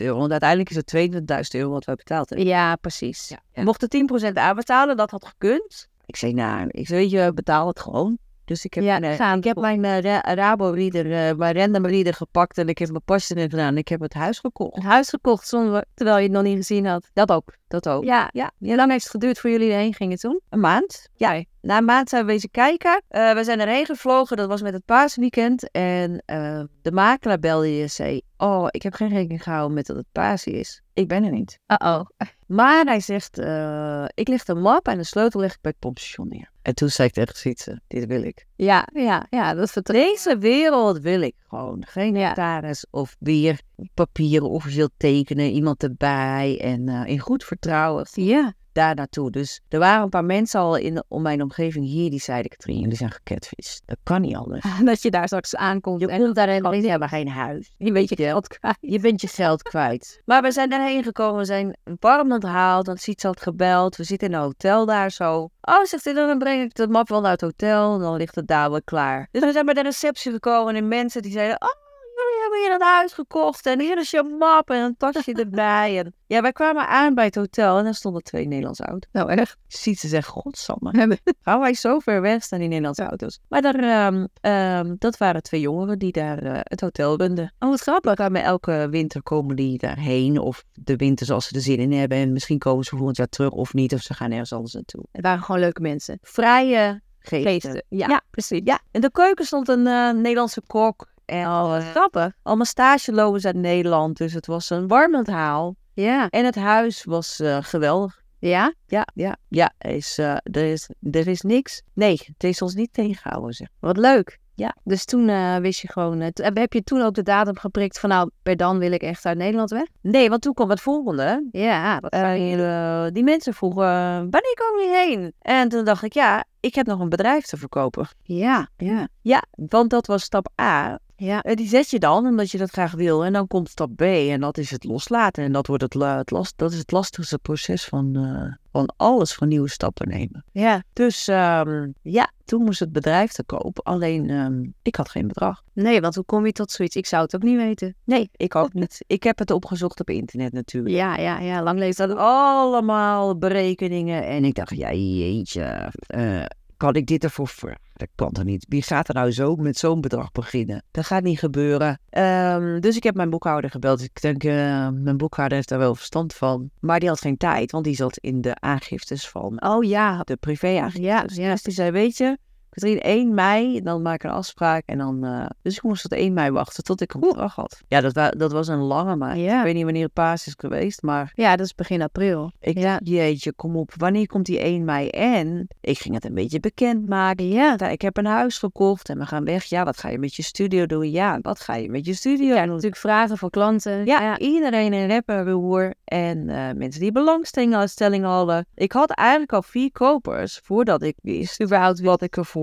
C: euro? Want uiteindelijk is het 22.000 euro wat we betaald hebben.
B: Ja, precies. Ja.
C: Ja. Mochten 10% aanbetalen, dat had gekund. Ik zei, nou, ik zei, weet je, betaal het gewoon. Dus ik heb,
B: Ja,
C: mijn, eh,
B: gaan.
C: ik heb mijn eh, Ra- Rabo-reader, eh, mijn random reader gepakt en ik heb mijn pasje erin gedaan. en Ik heb het huis gekocht.
B: Een huis gekocht zonder, terwijl je het nog niet gezien had.
C: Dat ook, dat ook.
B: Ja.
C: Ja,
B: Hoe lang heeft het geduurd voor jullie erheen gingen toen?
C: een maand. Ja,
B: Oké.
C: na een maand zijn we wezen kijken. Eh, we zijn erheen gevlogen, dat was met het paasweekend. En eh, de makelaar belde je en zei, oh, ik heb geen rekening gehouden met dat het paas is. Ik ben er niet.
B: Uh-oh.
C: Maar hij zegt, eh, ik leg de map en de sleutel leg ik bij het pompstation neer. En toen zei ik tegen Sietse, dit wil ik.
B: Ja, ja, ja. Dat vertrekt.
C: Deze wereld wil ik gewoon. Geen
B: Ja.
C: notaris of weer papieren officieel tekenen, iemand erbij en eh, in goed vertrouwen
B: Ja.
C: daar naartoe. Dus er waren een paar mensen al in om mijn omgeving hier die zeiden, Katrien, jullie zijn gecatfished. Dat kan niet anders.
B: *laughs* Dat je daar straks aankomt.
C: Je
B: en
C: komt daarheen, jullie hebben geen huis.
B: een beetje geld kwijt.
C: Je bent je geld kwijt. Maar we zijn daarheen gekomen, we zijn warm onthaald, want Siets had gebeld. We zitten in een hotel daar zo. Oh, zegt hij, dan breng ik dat map wel naar het hotel en dan ligt het daar wel klaar. Dus we zijn bij de receptie gekomen en mensen die zeiden, oh, jullie hebben hier een huis gekocht en hier is je map en een *laughs* tasje erbij. En... Ja, wij kwamen aan bij het hotel en daar stonden twee Nederlandse auto's.
B: Nou, erg.
C: Sietse zegt, *laughs* godsamme, gaan wij zo ver weg staan die Nederlandse auto's. Maar daar, ehm, ehm, dat waren twee jongeren die daar eh, het hotel runden.
B: Oh, wat grappig.
C: Blijkbaar met elke winter komen die daarheen. Of de winter zoals ze er zin in hebben. En misschien komen ze volgend jaar terug of niet. Of ze gaan ergens anders naartoe.
B: Het waren gewoon leuke mensen.
C: Vrije geesten.
B: Geesten. Ja,
C: Ja.
B: precies.
C: Ja, in de keuken stond een eh, Nederlandse kok. En al eh, grappig. Allemaal stagelopers uit Nederland. Dus het was een warm onthaal.
B: Ja.
C: En het huis was eh, geweldig.
B: Ja?
C: Ja, ja, ja. Er Is, eh, er, is, er is niks. Nee, het is ons niet tegengehouden. Zeg.
B: Wat leuk. Ja, dus toen eh, wist je gewoon... eh, t- heb je toen ook de datum geprikt van nou, per dan wil ik echt uit Nederland weg?
C: Nee, want toen kwam het volgende.
B: Ja, dat zou je-
C: Eh, die mensen vroegen, eh, wanneer kom je heen? En toen dacht ik, ja, ik heb nog een bedrijf te verkopen.
B: ja, ja,
C: Ja, want dat was stap A.
B: ja.
C: Eh, Die zet je dan omdat je dat graag wil. En dan komt stap B en dat is het loslaten. En dat, wordt het, la- het last, dat is het lastigste proces van, eh, van alles van nieuwe stappen nemen.
B: Ja,
C: Dus ehm, ja, toen moest het bedrijf te koop. Alleen ehm, ik had geen bedrag.
B: nee, want hoe kom je tot zoiets? Ik zou het ook niet weten. Nee.
C: Ik ook niet. Ik heb het opgezocht op internet natuurlijk.
B: Ja, ja, ja, lang leeft dat.
C: allemaal berekeningen. En ik dacht, ja jeetje, eh, kan ik dit ervoor vragen? Dat kan toch niet? Wie gaat er nou zo met zo'n bedrag beginnen? Dat gaat niet gebeuren. Ehm, dus ik heb mijn boekhouder gebeld. Ik denk, eh, mijn boekhouder heeft daar wel verstand van. Maar die had geen tijd, want die zat in de aangiftes van
B: Oh ja,
C: de privé
B: ja,
C: dus
B: ja.
C: dus die zei, weet je, Katrien, 1 mei, dan maak ik een afspraak. En dan, eh, dus ik moest tot 1 mei wachten tot ik een bedrag had. Ja, dat, wa- dat was een lange maand.
B: Ja.
C: Ik weet niet wanneer het paas is geweest, maar
B: Ja, dat is begin april.
C: ik
B: Ja.
C: dacht, jeetje, kom op, wanneer komt die 1 mei? En ik ging het een beetje bekendmaken.
B: Ja.
C: Ja, ik heb een huis gekocht en we gaan weg. Ja, wat ga je met je studio doen? Ja, wat ga je met je studio doen?
B: Natuurlijk vragen voor klanten.
C: Nou Ja, iedereen in rep en roer. En eh, mensen die belangstelling hadden. Ik had eigenlijk al vier kopers voordat ik wist überhaupt wat ik ervoor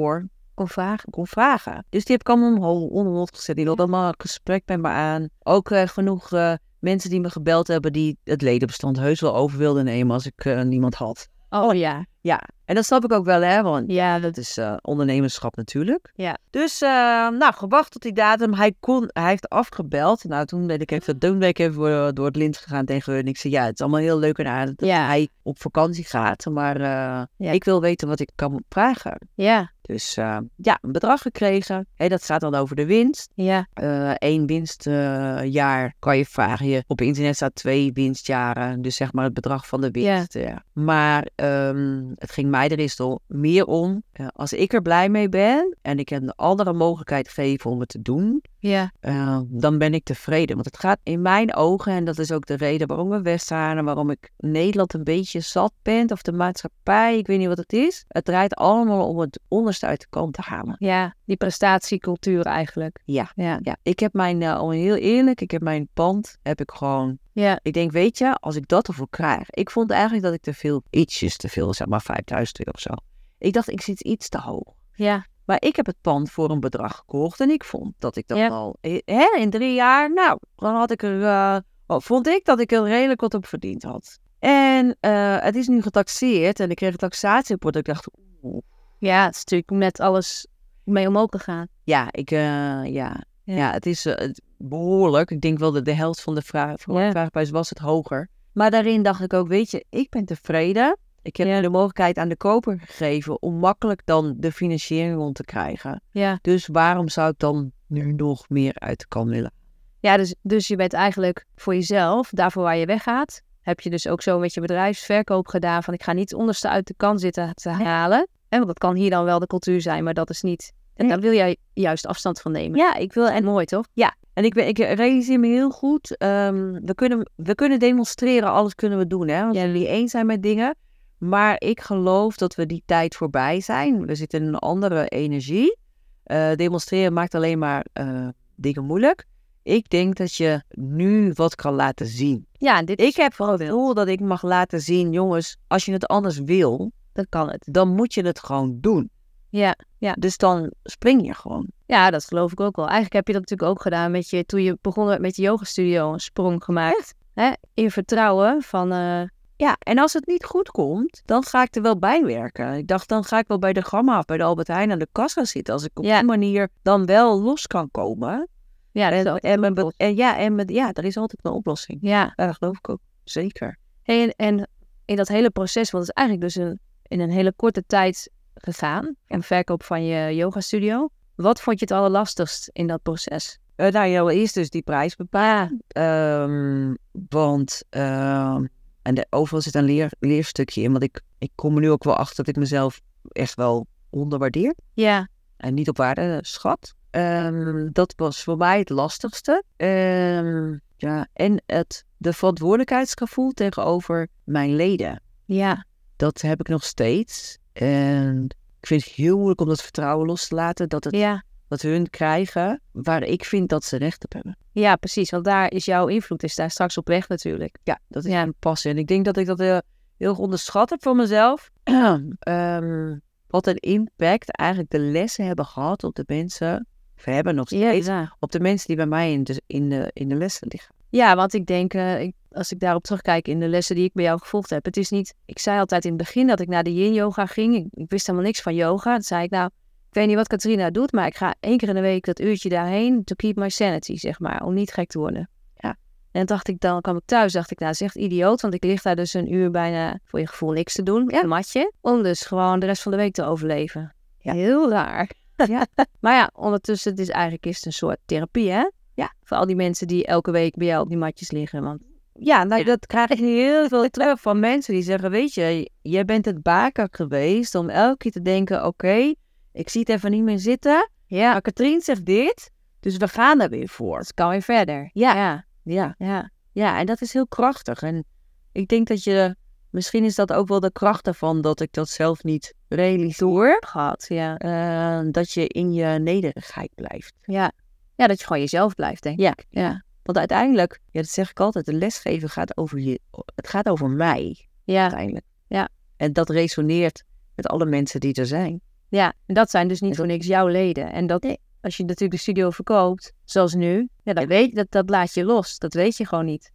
B: Of vragen.
C: kon vragen. Dus die heb ik allemaal omhoog, onderhoofd gezet. Die hadden allemaal een gesprek met me aan. Ook eh, genoeg eh, mensen die me gebeld hebben die het ledenbestand heus wel over wilden nemen als ik eh, niemand had.
B: Oh ja.
C: Ja, en dat snap ik ook wel hè, want
B: Ja, dat
C: het is eh, ondernemerschap natuurlijk.
B: Ja.
C: Dus, eh, nou, gewacht tot die datum. Hij, kon, hij heeft afgebeld. Nou, toen ben ik
B: Ah.
C: even, toen ben ik even door, door het lint gegaan tegen hun. Ik zei, ja, het is allemaal heel leuk en aardig dat
B: Ja.
C: hij op vakantie gaat. Maar eh,
B: Ja.
C: ik wil weten wat ik kan vragen.
B: Ja,
C: Dus eh, ja, een bedrag gekregen. Hé, dat gaat dan over de winst.
B: ja,
C: Eén eh, winstjaar kan je vragen. Je, op internet staat twee winstjaren. Dus zeg maar het bedrag van de
B: Ja.
C: winst. ja. Maar ehm, het ging mij er is toch meer om. eh, als ik er blij mee ben en ik hem de andere mogelijkheid geef om het te doen.
B: ja,
C: eh, dan ben ik tevreden. Want het gaat in mijn ogen, en dat is ook de reden waarom we weg zijn en waarom ik Nederland een beetje zat ben, of de maatschappij, ik weet niet wat het is. Het draait allemaal om het onderste uit de kant te halen.
B: ja. Die prestatiecultuur eigenlijk.
C: Ja.
B: Ja,
C: Ja, ik heb mijn, eh, om heel eerlijk, ik heb mijn pand, heb ik gewoon...
B: ja,
C: Ik denk, weet je, als ik dat ervoor krijg... Ik vond eigenlijk dat ik te veel, ietsjes te veel, zeg maar 5000 euro of zo. Ik dacht, ik zit iets te hoog.
B: ja,
C: Maar ik heb het pand voor een bedrag gekocht en ik vond dat ik dat
B: Ja.
C: al... Hè, in drie jaar, nou, dan had ik er... eh, wel, vond ik dat ik er redelijk wat op verdiend had. En eh, het is nu getaxeerd en ik kreeg een taxatierapport. Ik dacht, oeh,
B: ja. Het is natuurlijk net alles mee omhoog gegaan.
C: ja, ik, eh, ja.
B: Ja.
C: Ja. het is eh, het- behoorlijk. Ik denk wel dat de helft van de vraag, van de
B: Ja.
C: vraagprijs was het hoger. Maar daarin dacht ik ook, weet je, ik ben tevreden. Ik heb de mogelijkheid aan de koper gegeven om makkelijk dan de financiering rond te krijgen.
B: Ja,
C: Dus waarom zou ik dan nu nog meer uit de kan willen?
B: ja dus, dus je bent eigenlijk voor jezelf, daarvoor waar je weggaat, heb je dus ook zo met je bedrijfsverkoop gedaan van ik ga niet onderste uit de kan zitten te halen. En want dat kan hier dan wel de cultuur zijn, maar dat is niet. En daar wil jij juist afstand van nemen.
C: Ja, ik wil en
B: Mooi toch?
C: En ik, ben- ik realiseer me heel goed, ehm, we, kunnen, we kunnen demonstreren, alles kunnen we doen. Hè? Want
B: Ja.
C: jullie eens zijn met dingen. Maar ik geloof dat we die tijd voorbij zijn. We zitten in een andere energie. Eh, demonstreren maakt alleen maar eh, dingen moeilijk. Ik denk dat je nu wat kan laten zien.
B: Ja, en dit
C: Ik heb het gevoel dat ik mag laten zien, jongens, als je het anders wil,
B: dan kan het.
C: dan moet je het gewoon doen.
B: Ja, ja.
C: Dus dan spring je gewoon.
B: Ja, dat geloof ik ook wel. Eigenlijk heb je dat natuurlijk ook gedaan met je, toen je begon met je yogastudio, een sprong gemaakt. Hè? In vertrouwen van, eh,
C: Ja, en als het niet goed komt, dan ga ik er wel bij werken. Ik dacht, dan ga ik wel bij de Gamma of bij de Albert Heijn aan de kassa zitten. Als ik op
B: Ja.
C: die manier dan wel los kan komen.
B: ja, dat is
C: En,
B: altijd
C: en, mijn
B: een
C: be-
B: oplossing.
C: en ja, en met, ja, er is altijd een oplossing.
B: Ja,
C: Ja, dat geloof ik ook. Zeker.
B: Hey, en, en in dat hele proces, want het is eigenlijk dus een, in een hele korte tijd gegaan, een verkoop van je yogastudio. Wat vond je het allerlastigst in dat proces?
C: Eh, nou, ja, eerst dus die prijs bepalen. Ehm, want, ehm, en de, overal zit een leer, leerstukje in. Want ik, ik kom er nu ook wel achter dat ik mezelf echt wel onderwaardeer.
B: Ja,
C: en niet op waarde schat. Ehm, dat was voor mij het lastigste. Ehm, ja, en het, de verantwoordelijkheidsgevoel tegenover mijn leden.
B: ja,
C: Dat heb ik nog steeds. En ik vind het heel moeilijk om dat vertrouwen los te laten. Dat het
B: ja,
C: wat hun krijgen waar ik vind dat ze recht op hebben.
B: Ja, precies. Want daar is jouw invloed is daar straks op weg natuurlijk.
C: Ja, dat is
B: Ja.
C: een passie. En ik denk dat ik dat eh, heel erg onderschat heb van mezelf. *clears throat* Ehm, wat een impact eigenlijk de lessen hebben gehad op de mensen. Of hebben nog
B: Ja,
C: steeds.
B: ja.
C: Op de mensen die bij mij in de, in de, in de lessen liggen.
B: ja want ik denk, eh, ik- als ik daarop terugkijk in de lessen die ik bij jou gevolgd heb. Het is niet, ik zei altijd in het begin dat ik naar de yin yoga ging. Ik, ik wist helemaal niks van yoga. Toen zei ik nou, ik weet niet wat Katrina doet, maar ik ga één keer in de week dat uurtje daarheen. To keep my sanity, zeg maar, om niet gek te worden.
C: Ja.
B: En dacht ik, dan kwam ik thuis, dacht ik, nou, dat is echt idioot, want ik lig daar dus een uur bijna voor je gevoel niks te doen, ja. een matje, om dus gewoon de rest van de week te overleven.
C: Ja.
B: Heel raar.
C: Ja.
B: maar *laughs* ja, ondertussen, het is eigenlijk is het een soort therapie, hè?
C: Ja.
B: Voor al die mensen die elke week bij jou op die matjes liggen. Want ja, nou,
C: Ja.
B: dat krijg ik heel veel terug.
C: Van mensen die zeggen, weet je, jij bent het baker geweest om elke keer te denken, oké, ik zie het even niet meer zitten.
B: Ja,
C: Maar Katrien zegt dit, dus we gaan er Dus weer voor.
B: het kan weer verder.
C: Ja.
B: ja.
C: Ja.
B: ja.
C: Ja, en dat is heel krachtig. En ik denk dat je, misschien is dat ook wel de kracht ervan dat ik dat zelf niet realiseer.
B: Gehad, ja.
C: Eh, dat je in je nederigheid blijft.
B: ja. Ja, dat je gewoon jezelf blijft, denk ik.
C: Ja, ja. Want uiteindelijk, ja, dat zeg ik altijd, de lesgeven gaat over je, het gaat over mij
B: Ja,
C: uiteindelijk.
B: Ja.
C: En dat resoneert met alle mensen die er zijn.
B: ja. En dat zijn dus niet voor niks jouw leden. En dat, als je natuurlijk de studio verkoopt, zoals nu, ja, dat, weet, dat, dat laat je los. Dat weet je gewoon niet.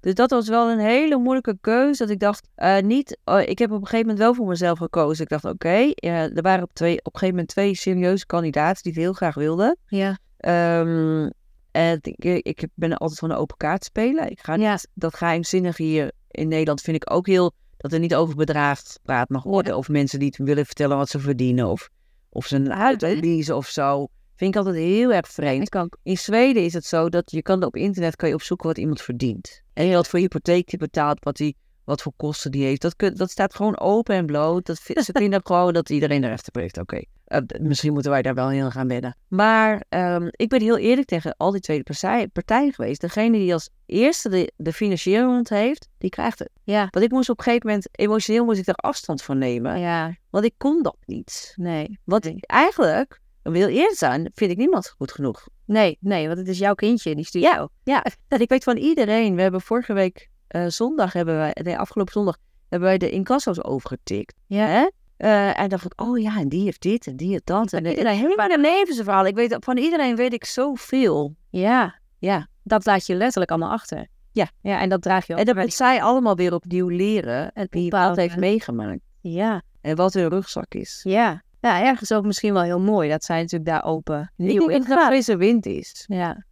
C: Dus dat was wel een hele moeilijke keuze. Dat ik dacht, eh, niet, eh, ik heb op een gegeven moment wel voor mezelf gekozen. Ik dacht, oké, eh, er waren op, twee, op een gegeven moment twee serieuze kandidaten die het heel graag wilden.
B: Ja.
C: Ehm, en ik, ik ben altijd van een open kaart spelen. Ik ga niet,
B: Ja.
C: Dat geheimzinnige hier in Nederland vind ik ook heel... dat er niet over bedrag gepraat mag worden. Of mensen die het willen vertellen wat ze verdienen. Of, of ze een huis verliezen of zo. Vind ik altijd heel erg vreemd.
B: Ik ook.
C: In Zweden is het zo dat je kan op internet kan je opzoeken wat iemand verdient. En wat voor hypotheek die betaalt, wat, die, wat voor kosten die heeft. Dat, kun- dat staat gewoon open en bloot. Dat, vi- ze vinden
B: *laughs*
C: gewoon dat iedereen er recht op heeft. Oké, Eh, d- misschien moeten wij daar wel heel gaan wennen. Maar ehm, ik ben heel eerlijk tegen al die tweede partij- partijen geweest. Degene die als eerste de, de financiële hand heeft, die krijgt het.
B: Ja.
C: Want ik moest op een gegeven moment, emotioneel moest ik daar afstand van nemen.
B: Ja,
C: Want ik kon dat niet.
B: nee.
C: Want
B: Nee.
C: eigenlijk, om heel eerlijk te zijn, vind ik niemand goed genoeg.
B: Nee, nee, want het is jouw kindje, die studio. Ja.
C: Ja, *laughs* dat ik weet van iedereen. We hebben vorige week eh, zondag, hebben wij, nee, afgelopen zondag, hebben wij de incasso's overgetikt.
B: Ja.
C: Hè? Eh, en dacht ik, oh ja, en die heeft dit en die heeft dat. En eh,
B: Van
C: iedereen heeft bijna levensverhaal. Ik weet, van iedereen weet ik zoveel.
B: Ja.
C: Ja.
B: Dat laat je letterlijk allemaal achter.
C: Ja.
B: Ja, en dat draag je ook.
C: En dat
B: bij
C: moet zij allemaal weer opnieuw leren. En wie wat
B: bepalen.
C: heeft meegemaakt.
B: die- Ja.
C: En wat hun rugzak is.
B: Ja. Ja, ergens ook misschien wel heel mooi dat zij natuurlijk daar open
C: Ik
B: nieuw
C: denk dat
B: in
C: het een frisse wind is.
B: Ja.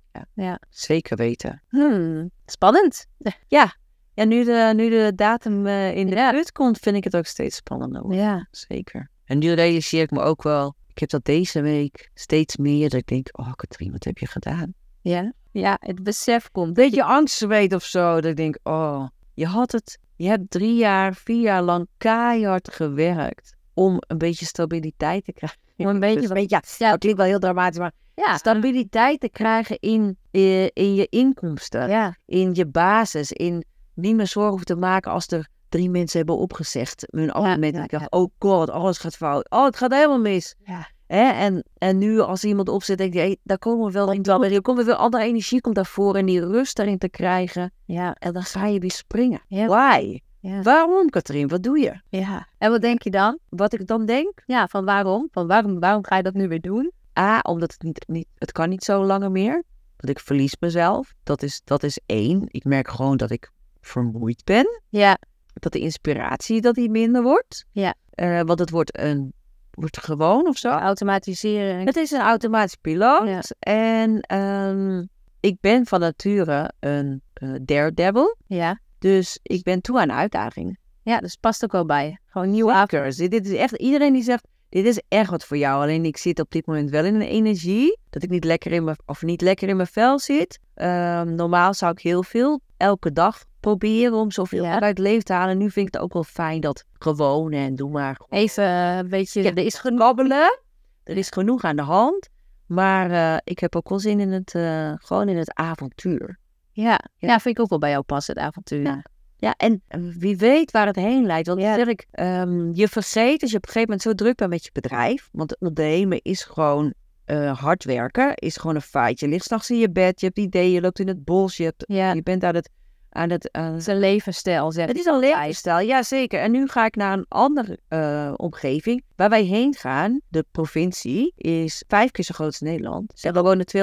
C: Zeker weten.
B: Hmm. Spannend.
C: Ja, nu de, nu de datum eh, in de
B: Ja.
C: buurt komt, vind ik het ook steeds spannender. worden.
B: Ja.
C: Zeker. En nu realiseer ik me ook wel, ik heb dat deze week steeds meer, dat ik denk, oh Katrien, wat heb je gedaan?
B: Ja. Ja, het besef komt.
C: Een beetje angstzweet of zo, dat ik denk, oh, je had het, je hebt drie jaar, vier jaar lang keihard gewerkt om een beetje stabiliteit te krijgen.
B: Om een beetje
C: Dus
B: wat-
C: ja, dat klinkt wel heel dramatisch, maar
B: Ja.
C: stabiliteit te krijgen in, eh, in je inkomsten,
B: Ja.
C: in je basis, in niet meer zorgen hoeven te maken als er drie mensen hebben opgezegd hun abonnement.
B: ja,
C: ik dacht, oh god, alles gaat fout. Oh, het gaat helemaal mis.
B: Ja.
C: Hè? En, en nu als iemand opzet, denk je, hey, daar komen we wel in. Er komt weer veel andere energie komt daarvoor en die rust daarin te krijgen.
B: Ja.
C: En dan ga je weer springen.
B: Ja.
C: Why?
B: Ja.
C: Waarom, Katrien? Wat doe je?
B: Ja. En wat denk je dan?
C: Wat ik dan denk?
B: Ja, van waarom? Van waarom, waarom ga je dat nu weer doen?
C: A, omdat het niet, niet, het kan niet zo langer meer. Want ik verlies mezelf. Dat is, dat is één. Ik merk gewoon dat ik vermoeid ben.
B: Ja.
C: dat de inspiratie dat die minder wordt.
B: Ja.
C: Eh, want het wordt een wordt gewoon of zo.
B: Automatiseren. en-
C: Het is een automatisch piloot.
B: Ja.
C: En ehm, ik ben van nature een eh, daredevil.
B: Ja.
C: Dus ik ben toe aan uitdagingen.
B: Ja, dus past ook wel bij je. Gewoon nieuw af.
C: Zeker. Dit, dit is echt iedereen die zegt, dit is echt wat voor jou. Alleen ik zit op dit moment wel in een energie dat ik niet lekker in mijn, of niet lekker in mijn vel zit. Ehm, normaal zou ik heel veel elke dag proberen om zoveel
B: Ja.
C: uit het leven te halen. Nu vind ik het ook wel fijn dat gewoon en doe maar.
B: Even eh, een beetje.
C: Ja,
B: er is genoeg.
C: knabbelen. Er is genoeg aan de hand. Maar eh, ik heb ook wel zin in het, eh, gewoon in het avontuur.
B: Ja.
C: Ja.
B: Ja. vind ik ook wel bij jou passen, het avontuur.
C: Ja. Ja, en eh, wie weet waar het heen leidt. Want
B: Ja.
C: zeg ik, ehm, je vergeet als je op een gegeven moment zo druk bent met je bedrijf. Want ondernemen is gewoon eh, hard werken is gewoon een feit. Je ligt s'nachts in je bed, je hebt ideeën, je loopt in het bos, je, hebt,
B: Ja,
C: je bent aan het... Aan het, aan het
B: zijn levensstijl zeg.
C: het is al leefstijl, ja zeker. En nu ga ik naar een andere eh, omgeving. Waar wij heen gaan, de provincie, is vijf keer zo groot als Nederland. Zeg, er wonen 250.000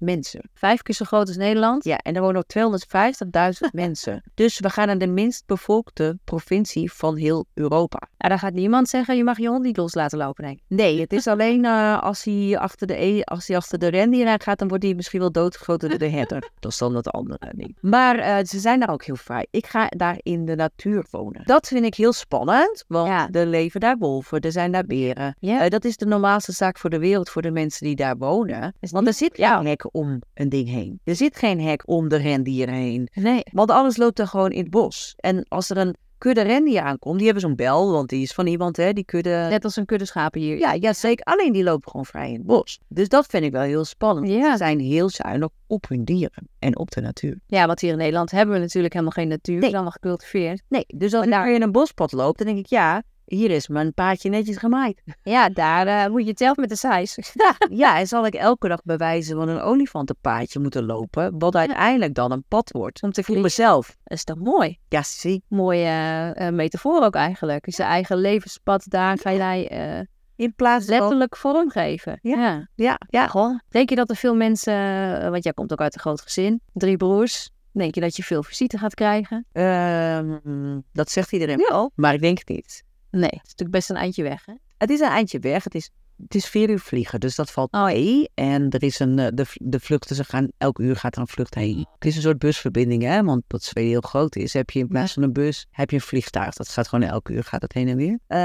C: mensen.
B: Vijf keer zo groot als Nederland.
C: Ja, en er wonen ook
B: *laughs*
C: 250.000 mensen. Dus we gaan naar de minst bevolkte provincie van heel Europa.
B: Nou, daar gaat niemand zeggen, je mag je hond niet los laten lopen, denk ik.
C: Nee, het is alleen eh, als, hij achter de, e- als hij achter de rendier aan gaat, dan wordt hij misschien wel doodgeschoten door de
B: *laughs*
C: herder. Dat is dan het andere niet. Maar eh, ze zijn daar ook heel vrij. Ik ga daar in de natuur wonen. Dat vind ik heel spannend, want
B: Ja.
C: er leven daar wolven, er zijn daar beren.
B: Ja.
C: Eh, dat is de normaalste zaak voor de wereld, voor de mensen die daar wonen. Want er zit geen hek om een ding heen. Er zit geen hek om de rendieren heen.
B: Nee.
C: Want alles loopt er gewoon in het bos. En als er een kudde rendier aankomt, die hebben zo'n bel, want die is van iemand, hè, die kudde...
B: Net als een kudde schapen hier.
C: Ja, ja, zeker. Alleen die lopen gewoon vrij in het bos. Dus dat vind ik wel heel spannend.
B: Ja.
C: Ze zijn heel zuinig op hun dieren en op de natuur.
B: Ja, want hier in Nederland hebben we natuurlijk helemaal geen natuur.
C: Nee.
B: is allemaal gecultiveerd.
C: Nee, dus als je in een bospad loopt, dan denk ik, ja, hier is mijn paadje netjes gemaaid.
B: Ja, daar eh, moet je het zelf met de
C: *laughs*
B: saais.
C: ja, en zal ik elke dag bewijzen van een olifantenpaadje moeten lopen, wat uiteindelijk dan een pad wordt.
B: Om te
C: Voor
B: vliegen.
C: mezelf.
B: Dat is toch mooi?
C: Ja, zie.
B: Mooie eh, eh, metafoor ook eigenlijk. Dus je eigen levenspad, daar ga jij eh,
C: In plaats van...
B: letterlijk vormgeven.
C: Ja. Ja, ja. Gewoon.
B: Denk je dat er veel mensen, eh, want jij komt ook uit een groot gezin, drie broers. Denk je dat je veel visite gaat krijgen?
C: Ehm, dat zegt iedereen
B: Ja.
C: wel, maar ik denk het niet.
B: Nee, het is natuurlijk best een eindje weg, hè?
C: Het is een eindje weg. Het is, het is vier uur vliegen, dus dat valt mee. En er is een, eh, de, v- de vluchten, ze gaan, elk uur gaat er een vlucht heen. Het is een soort busverbinding, hè, want dat Zweden heel groot is. Heb je in plaats van een bus, heb je een vliegtuig. Dat gaat gewoon elk uur, gaat het heen en weer. Eh,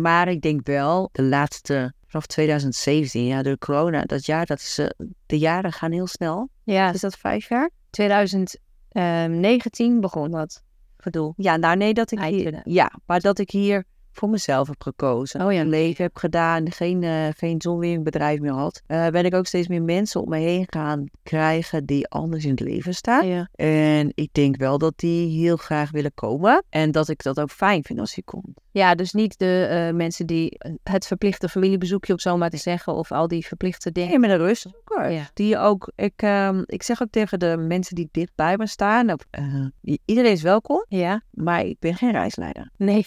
C: maar ik denk wel, de laatste, vanaf 2017, ja, door corona, dat jaar, dat is, eh, de jaren gaan heel snel.
B: Ja,
C: Is dat vijf jaar?
B: 2019 ehm, begon dat gedoe.
C: Ja, nou nee, dat ik hier,
B: Eindje.
C: ja, maar dat ik hier voor mezelf heb gekozen.
B: Oh ja.
C: een leven heb gedaan, geen, eh geen zonweringbedrijf meer had, eh, ben ik ook steeds meer mensen om me heen gaan krijgen die anders in het leven staan.
B: Ja.
C: En ik denk wel dat die heel graag willen komen en dat ik dat ook fijn vind als die komt.
B: ja, dus niet de eh, mensen die het verplichte familiebezoekje, om zo maar te zeggen, of al die verplichte dingen.
C: En met een rustzoeker.
B: Ja.
C: Die ook, ik, ehm, ik zeg ook tegen de mensen die dicht bij me staan, of, eh, iedereen is welkom,
B: Ja,
C: maar ik ben geen reisleider.
B: nee.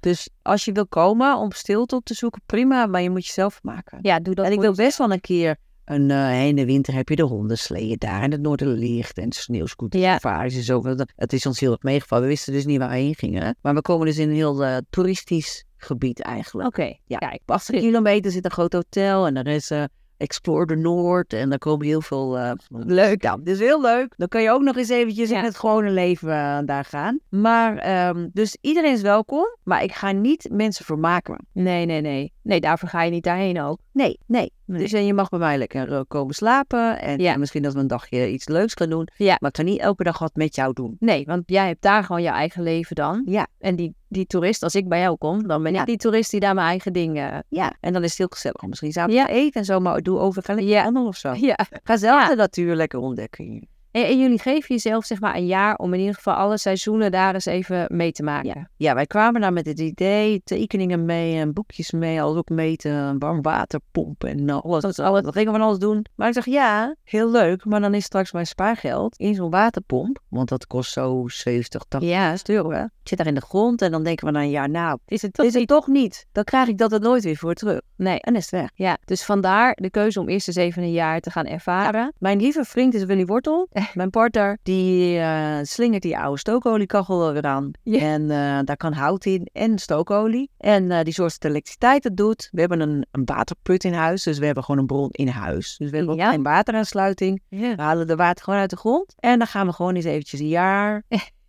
C: Dus als je wil komen om stilte op te zoeken, prima, maar je moet jezelf maken.
B: Ja, doe dat
C: En ik
B: voor
C: wil best wel een keer een eh hele winter heb je de hondensleeën daar en het noorderlicht en
B: Ja.
C: sneeuwscootervaars en zo. Want Het is ons heel erg meegevallen. We wisten dus niet waar we heen gingen. Maar we komen dus in een heel eh, toeristisch gebied eigenlijk.
B: Oké,
C: Ja.
B: kijk.
C: Op 18 kilometer zit een groot hotel en er is eh, Explore de Noord en daar komen heel veel... eh, leuk. Ja, dus heel leuk. Dan kan je ook nog eens eventjes
B: Ja.
C: in het gewone leven eh, daar gaan. Maar, ehm, dus iedereen is welkom, maar ik ga niet mensen vermaken.
B: Nee, nee, nee. Nee, daarvoor ga je niet daarheen ook.
C: Nee, nee.
B: Nee.
C: Dus en je mag bij mij lekker eh, komen slapen. En
B: Ja.
C: en misschien dat we een dagje iets leuks gaan doen.
B: Ja.
C: Maar ik kan niet elke dag wat met jou doen.
B: Nee, want jij hebt daar gewoon je eigen leven dan.
C: Ja.
B: En die, die toerist, als ik bij jou kom, dan ben
C: Ja.
B: ik die toerist die daar mijn eigen dingen...
C: Ja. En dan is het heel gezellig. om Misschien samen
B: Ja.
C: te eten en zo. Maar doe overgaan lekker
B: Ja.
C: wandelen of zo.
B: *laughs* Ja.
C: Ga zelf de natuur lekker ontdekken.
B: En, en jullie geven jezelf zeg maar een jaar om in ieder geval alle seizoenen daar eens even mee te maken.
C: Ja, wij kwamen daar nou met het idee. Tekeningen mee en boekjes mee. Alles ook meten. Warm waterpomp en alles.
B: Dat is
C: alles.
B: alles.
C: Dat gingen we van alles doen. Maar ik dacht, ja, heel leuk. Maar dan is straks mijn spaargeld in zo'n waterpomp. Want dat kost zo 70, 80
B: Ja,
C: euro. hè. Het zit daar in de grond. En dan denken we na een jaar, nou,
B: is het toch
C: is het
B: niet-
C: toch niet. Dan krijg ik dat er nooit weer voor terug.
B: Nee.
C: En is het weg.
B: Ja, dus vandaar de keuze om eerst eens even een jaar te gaan ervaren.
C: Mijn lieve vriend is Willy Wortel. Mijn partner, die eh, slingert die oude stookoliekachel wel weer aan.
B: Ja.
C: En eh, daar kan hout in en stookolie. En eh, die zorgt dat de elektriciteit het doet. We hebben een, een waterput in huis, dus we hebben gewoon een bron in huis. Dus we hebben ook
B: Ja.
C: geen wateraansluiting. We halen de water gewoon uit de grond. En dan gaan we gewoon eens eventjes een
B: *laughs*
C: jaar.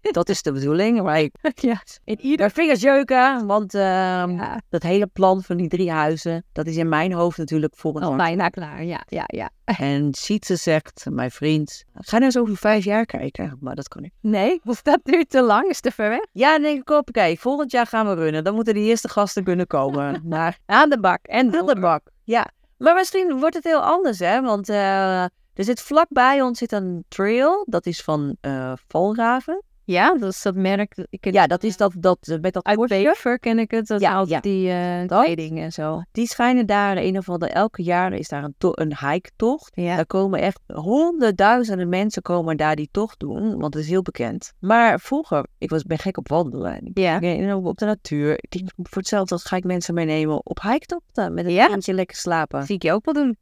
C: Dat is de bedoeling. Maar ik,
B: *laughs* Ja. Um, In ieder
C: mijn vingers jeuken, want ehm,
B: Ja.
C: dat hele plan van die drie huizen, dat is in mijn hoofd natuurlijk volgend
B: geval
C: *laughs* jaar.
B: bijna klaar. Ja, ja, ja.
C: En Sietse zegt, mijn vriend, ga nou eens over vijf jaar kijken. Maar dat kan ik.
B: Nee, of dat duurt te lang, is te ver weg.
C: Ja, dan denk ik, oké, volgend jaar gaan we runnen. Dan moeten de eerste gasten kunnen
B: *laughs*
C: komen. Maar
B: Aan de bak en
C: aan de
B: door.
C: bak. Ja, maar misschien wordt het heel anders, hè. Want eh, er zit vlakbij ons zit een trail. Dat is van eh Valraven.
B: Ja, dat is dat merk. Ik ken-
C: Ja, dat is dat, dat eh, met dat
B: Uit
C: korstje.
B: Bever ken ik het. Dat
C: Ja,
B: houdt
C: ja.
B: die eh
C: Dat.
B: kleding en zo.
C: Die schijnen daar in ieder geval, de- elke jaar is daar een, to- een hike-tocht.
B: Ja.
C: Daar komen echt honderdduizenden mensen komen daar die tocht doen, want het is heel bekend. Maar vroeger, ik was, ben gek op wandelen en ik
B: Ja.
C: ben en ook op de natuur. Ik denk, voor hetzelfde geld ga ik mensen meenemen op hiketochten met een
B: Ja.
C: kindje lekker slapen.
B: Zie ik je ook wel doen.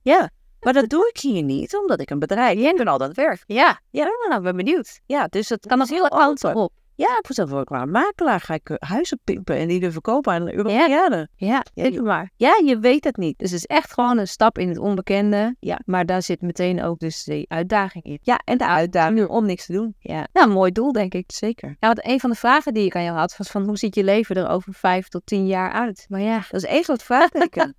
C: Maar dat doe ik hier niet, omdat ik een bedrijf heb en al dat werk.
B: Ja,
C: Ja,
B: nou, ben benieuwd.
C: ja dus dat
B: Kan nog heel oud op.
C: Ja, ik zelf ook qua makelaar ga ik eh, huizen pimpen en die dan verkopen aan Europeanen.
B: Ja,
C: Ja,
B: denk
C: je-
B: het maar.
C: Ja, je weet het niet.
B: Dus het is echt gewoon een stap in het onbekende.
C: Ja.
B: Maar daar zit meteen ook dus die uitdaging in.
C: Ja, en de uitdaging om niks te doen.
B: Ja. Nou, mooi doel, denk ik.
C: Zeker.
B: Ja, want een van de vragen die ik aan jou had was van hoe ziet je leven er over vijf tot tien jaar uit? Maar ja,
C: Dat is één groot *laughs* vraagteken.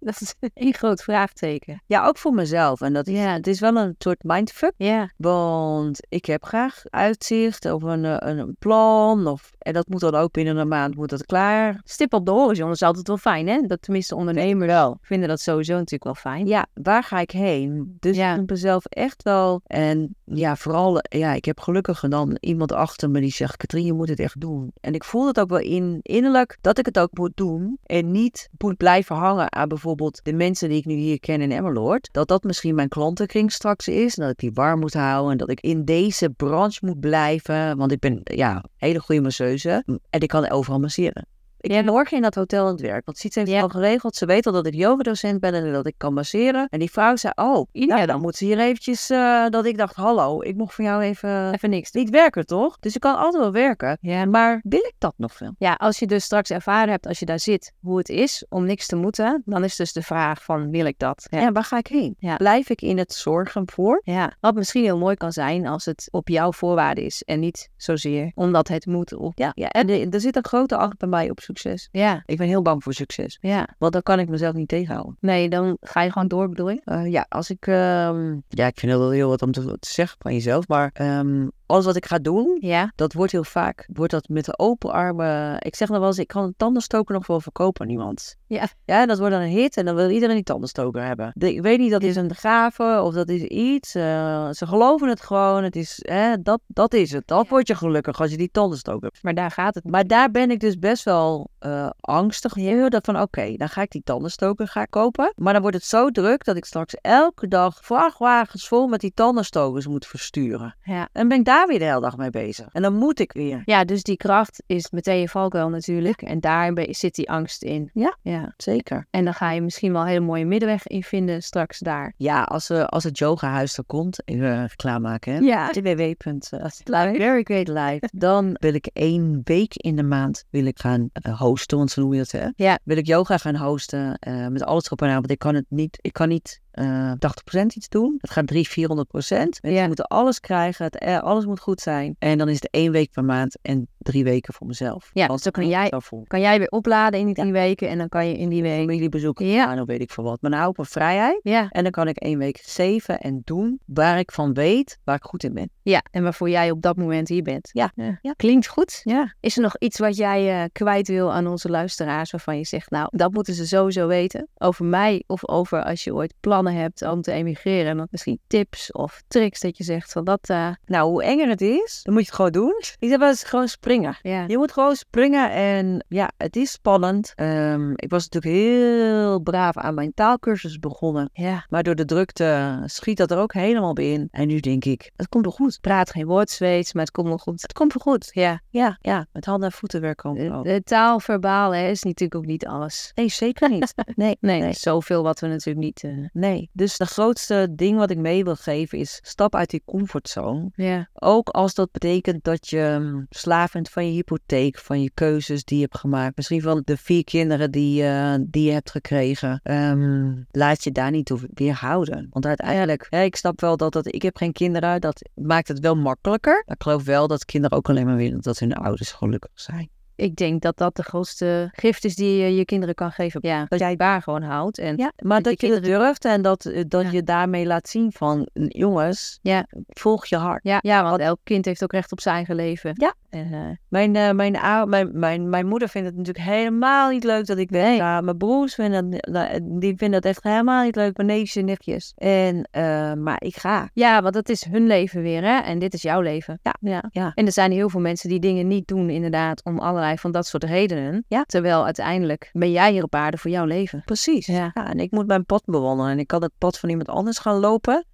B: dat is een groot vraagteken.
C: ja, ook voor mezelf. En dat is,
B: Ja.
C: het is wel een soort mindfuck.
B: Ja,
C: Want ik heb graag uitzicht of een, eh, een, een plan. Of, en dat moet dan ook binnen een maand moet dat klaar.
B: stip op de horizon is altijd wel fijn, hè? Dat tenminste ondernemers wel. vinden dat sowieso natuurlijk wel fijn.
C: Ja, waar ga ik heen? Dus
B: Ja.
C: ik vind mezelf echt wel. En ja, vooral, ja, ik heb gelukkig dan iemand achter me die zegt: Katrien, je moet het echt doen. En ik voel het ook wel in, innerlijk dat ik het ook moet doen. En niet moet blijven hangen aan bijvoorbeeld de mensen die ik nu hier ken in Emmeloord. Dat dat misschien mijn klantenkring straks is. En dat ik die warm moet houden. En dat ik in deze branche moet blijven. Want ik ben, ja, hele goede masseuse. En ik kan overal masseren. Ik
B: Ja.
C: ben morgen in dat hotel aan het werk. Want Siets heeft
B: Ja.
C: het al geregeld. Ze weet al dat ik yogadocent ben en dat ik kan masseren. En die vrouw zei, oh, nou ja, dan moet ze hier eventjes... eh, dat ik dacht, hallo, ik mocht van jou even... eh,
B: Even niks.
C: Niet werken, toch? Dus ik kan altijd wel werken.
B: Ja,
C: Maar wil ik dat nog veel?
B: Ja, als je dus straks ervaren hebt, als je daar zit, hoe het is om niks te moeten, dan is dus de vraag van wil ik dat?
C: Ja, waar ga ik heen?
B: Ja.
C: Blijf ik in het zorgen voor?
B: Ja, wat misschien heel mooi kan zijn als het op jouw voorwaarden is en niet zozeer omdat het moet. Of...
C: Ja, ja. en er- er zit een grote acht bij mij op succes.
B: Ja,
C: Ik ben heel bang voor succes.
B: ja.
C: Want dan kan ik mezelf niet tegenhouden.
B: Nee, dan ga je gewoon door, bedoel je?
C: Eh, ja, als ik. ehm, ja, ik vind dat wel heel wat om te, te zeggen van jezelf. Maar ehm, alles wat ik ga doen,
B: Ja.
C: dat wordt heel vaak. Wordt dat met de open armen. Ik zeg dan wel eens: ik kan een tandenstoker nog wel verkopen aan iemand.
B: Ja.
C: Ja, en dat wordt dan een hit en dan wil iedereen die tandenstoker hebben. De- ik weet niet, dat is een gave of dat is iets. eh, ze geloven het gewoon. Het is, hè, dat, dat is het. Dan
B: Ja.
C: word je gelukkig als je die tandenstoker hebt.
B: Maar daar gaat het.
C: Maar daar ben ik dus best wel eh, angstig voor. Dat van oké, dan ga ik die tandenstoker gaan kopen. Maar dan wordt het zo druk dat ik straks elke dag vrachtwagens vol met die tandenstokers moet versturen.
B: Ja.
C: En ben ik daar weer de hele dag mee bezig. En dan moet ik weer.
B: Ja, dus die kracht is meteen je valkuil natuurlijk. En daar be- zit die angst in.
C: Ja.
B: ja.
C: Zeker.
B: En dan ga je misschien wel een hele mooie middenweg in vinden straks daar.
C: Ja, als, eh, als het yogahuis er komt, even klaarmaken hè.
B: Ja.
C: eh, www.life. Very Great Life. *laughs* Dan wil ik één week in de maand wil ik gaan eh, hosten, want zo noem je dat hè?
B: Ja.
C: Wil ik yoga gaan hosten eh, met alles erop en aan, want ik kan het niet, ik kan niet eh 80% iets doen. Het gaat 300, 400 procent. Mensen
B: Ja.
C: moeten alles krijgen, het, eh, alles moet goed zijn. En dan is het één week per maand en drie weken voor mezelf.
B: Ja,
C: Want
B: dus dan kan
C: ik
B: jij-
C: daarvoor
B: Kan jij weer opladen in die drie weken en dan kan je in die week.
C: familiebezoeken
B: Ja.
C: gaan, of weet ik veel wat. Maar Nou, dan hou ik mijn vrijheid
B: Ja.
C: en dan kan ik één week zeven en doen waar ik van weet, waar ik goed in ben.
B: ja, en waarvoor jij op dat moment hier bent.
C: Ja.
B: ja. Klinkt goed.
C: Ja.
B: Is er nog iets wat jij eh, kwijt wil aan onze luisteraars waarvan je zegt, nou, dat moeten ze sowieso weten over mij of over als je ooit plannen hebt om te emigreren? Dan misschien tips of tricks dat je zegt van dat, eh,
C: Nou, hoe enger het is, dan moet je het gewoon doen. Ik zeg wel eens gewoon springen.
B: ja.
C: Je moet gewoon springen en ja, het is spannend. Ehm, ik was natuurlijk heel braaf aan mijn taalkursus begonnen.
B: Ja,
C: Maar door de drukte schiet dat er ook helemaal bij in. En nu denk ik, het komt wel goed.
B: praat geen woord Zweeds, maar het komt wel goed.
C: Het komt wel goed.
B: Ja, Eh,
C: Ja, ja, met handen en voeten werken komt het
B: de,
C: ook.
B: de taal verbaal hè, is natuurlijk ook niet alles.
C: Nee, zeker niet. Nee,
B: Nee,
C: nee.
B: zoveel wat we natuurlijk niet... eh,
C: Nee, dus de grootste ding wat ik mee wil geven is stap uit die comfortzone.
B: ja,
C: Ook als dat betekent dat je mm, slaaf bent van je hypotheek, van je keuzes die je hebt gemaakt. Misschien van de vier kinderen die, eh, die je hebt gekregen. Ehm, laat je daar niet toe weerhouden. Want uiteindelijk, hè, ik snap wel dat, dat ik heb geen kinderen. Dat maakt het wel makkelijker. Maar ik geloof wel dat kinderen ook alleen maar willen dat hun ouders gelukkig zijn.
B: ik denk dat dat de grootste gift is die je je kinderen kan geven. Ja, dat jij daar gewoon houdt. En
C: Ja, maar
B: Dat
C: dat
B: je
C: je het durft en dat, eh, dat
B: Ja.
C: je daarmee laat zien van, jongens,
B: Ja.
C: volg je hart.
B: Ja, ja, want elk kind heeft ook recht op zijn eigen leven.
C: Ja,
B: En, eh,
C: Mijn, eh, mijn, ou- mijn, mijn, mijn moeder vindt het natuurlijk helemaal niet leuk dat ik weg ga. Mijn broers vinden
B: eh,
C: dat, dat-
B: nou,
C: die vinden dat echt helemaal niet leuk. Mijn neefjes en nichtjes. En, eh, maar ik ga.
B: ja, want dat is hun leven weer, hè? En dit is jouw leven.
C: Ja,
B: ja.
C: ja.
B: En er zijn heel veel mensen die dingen niet doen, inderdaad, om allerlei van dat soort redenen.
C: Ja.
B: Terwijl uiteindelijk ben jij hier op aarde voor jouw leven.
C: Precies.
B: Ja.
C: Ja. en ik moet mijn pad bewandelen. En ik kan het pad van iemand anders gaan lopen.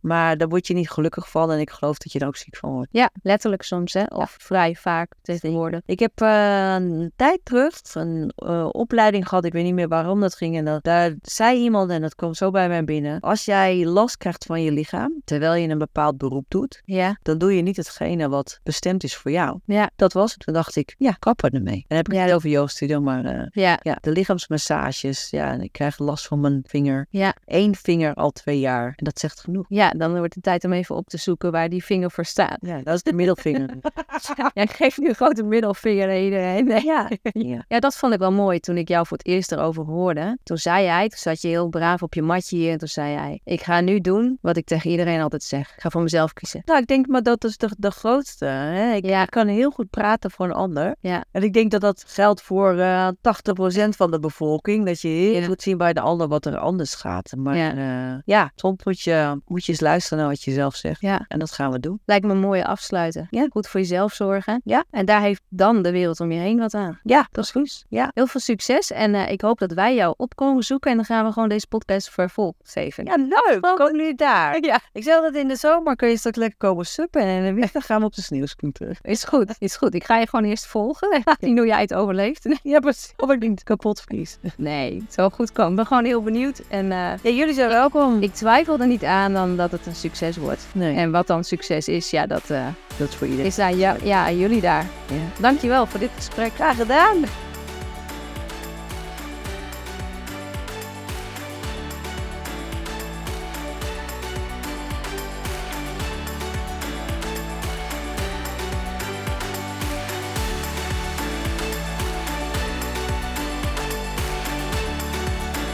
C: Maar daar word je niet gelukkig van. En ik geloof dat je er ook ziek van wordt.
B: Ja, letterlijk soms, hè? Of vrij vaak tegenwoordig.
C: Ik heb eh, een tijd terug een eh, opleiding gehad. Ik weet niet meer waarom dat ging. En dat, daar zei iemand, en dat kwam zo bij mij binnen. Als jij last krijgt van je lichaam, terwijl je een bepaald beroep doet,
B: Ja,
C: dan doe je niet hetgene wat bestemd is voor jou.
B: Ja.
C: Dat was het. Toen dacht ik, ja, kappen ermee. En dan heb ik
B: Ja,
C: het niet over Joost Studio, maar eh,
B: ja,
C: ja, de lichaamsmassages. Ja, en ik krijg last van mijn vinger.
B: Ja.
C: Eén vinger al twee jaar. En dat zegt genoeg.
B: ja. Dan wordt het tijd om even op te zoeken waar die vinger voor staat.
C: Ja, dat is de
B: *laughs*
C: middelvinger.
B: Jij geeft nu een grote middelvinger naar iedereen. Nee.
C: ja. ja.
B: Ja, dat vond ik wel mooi toen ik jou voor het eerst erover hoorde. Toen zei jij, toen zat je heel braaf op je matje hier. En toen zei jij, ik ga nu doen wat ik tegen iedereen altijd zeg. Ik ga voor mezelf kiezen.
C: Nou, ik denk maar dat is de, de grootste. Hè? Ik
B: Ja.
C: kan heel goed praten voor een ander.
B: Ja.
C: En ik denk dat dat geldt voor eh 80% van de bevolking. Dat je heel
B: Ja.
C: goed zien bij de ander wat er anders gaat. Maar
B: Ja.
C: ja, ja soms moet je, moet je eens luisteren naar wat je zelf zegt.
B: Ja.
C: En dat gaan we doen.
B: Lijkt me een mooie afsluiten.
C: Ja.
B: Goed voor jezelf zorgen.
C: Ja.
B: En daar heeft dan de wereld om je heen wat aan.
C: Ja, dat is goed. Ja.
B: Heel veel succes en eh, ik hoop dat wij jou op komen zoeken. En dan gaan we gewoon deze podcast vervolg geven.
C: Ja, leuk. Komen jullie daar?
B: Ja.
C: Ik zeg dat in de zomer kun je straks lekker komen suppen. En in *laughs* de winter gaan we op de sneeuwscooter.
B: Is goed, is goed. Ik ga je gewoon eerst volgen. *laughs* En zien hoe jij het overleeft. *laughs*
C: Ja, precies. Of ik niet kapot vries.
B: Nee, het zal goed komen. Ik ben gewoon heel benieuwd. En eh,
C: Ja, jullie zijn welkom.
B: ik twijfel er niet aan dan dat het een succes wordt.
C: Hm. nee,
B: En wat dan succes is, ja, dat eh,
C: dat is voor iedereen.
B: is aan jou, ja, aan jullie daar.
C: Ja.
B: Dankjewel voor dit gesprek. Graag gedaan.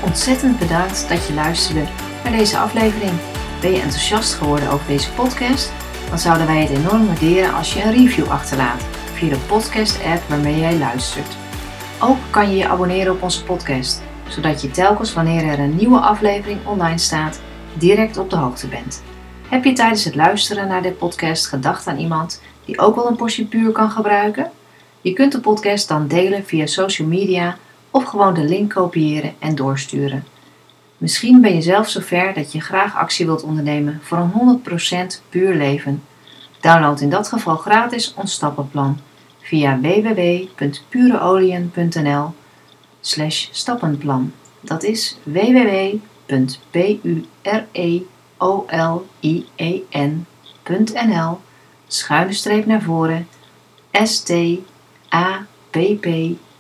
D: Ontzettend bedankt dat je luisterde naar deze aflevering. Ben je enthousiast geworden over deze podcast? Dan zouden wij het enorm waarderen als je een review achterlaat via de podcast-app waarmee jij luistert. Ook kan je je abonneren op onze podcast, zodat je telkens wanneer er een nieuwe aflevering online staat, direct op de hoogte bent. Heb je tijdens het luisteren naar dit podcast gedacht aan iemand die ook wel een portie puur kan gebruiken? Je kunt de podcast dan delen via social media of gewoon de link kopiëren en doorsturen. Misschien ben je zelf zover dat je graag actie wilt ondernemen voor een 100% puur leven. Download in dat geval gratis ons stappenplan via www.pureolien.nl slash stappenplan. Dat is www.pureolien.nl schuine streep naar voren s t a p p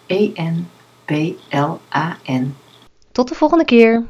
D: e n P-L-A-N.
E: Tot de volgende keer.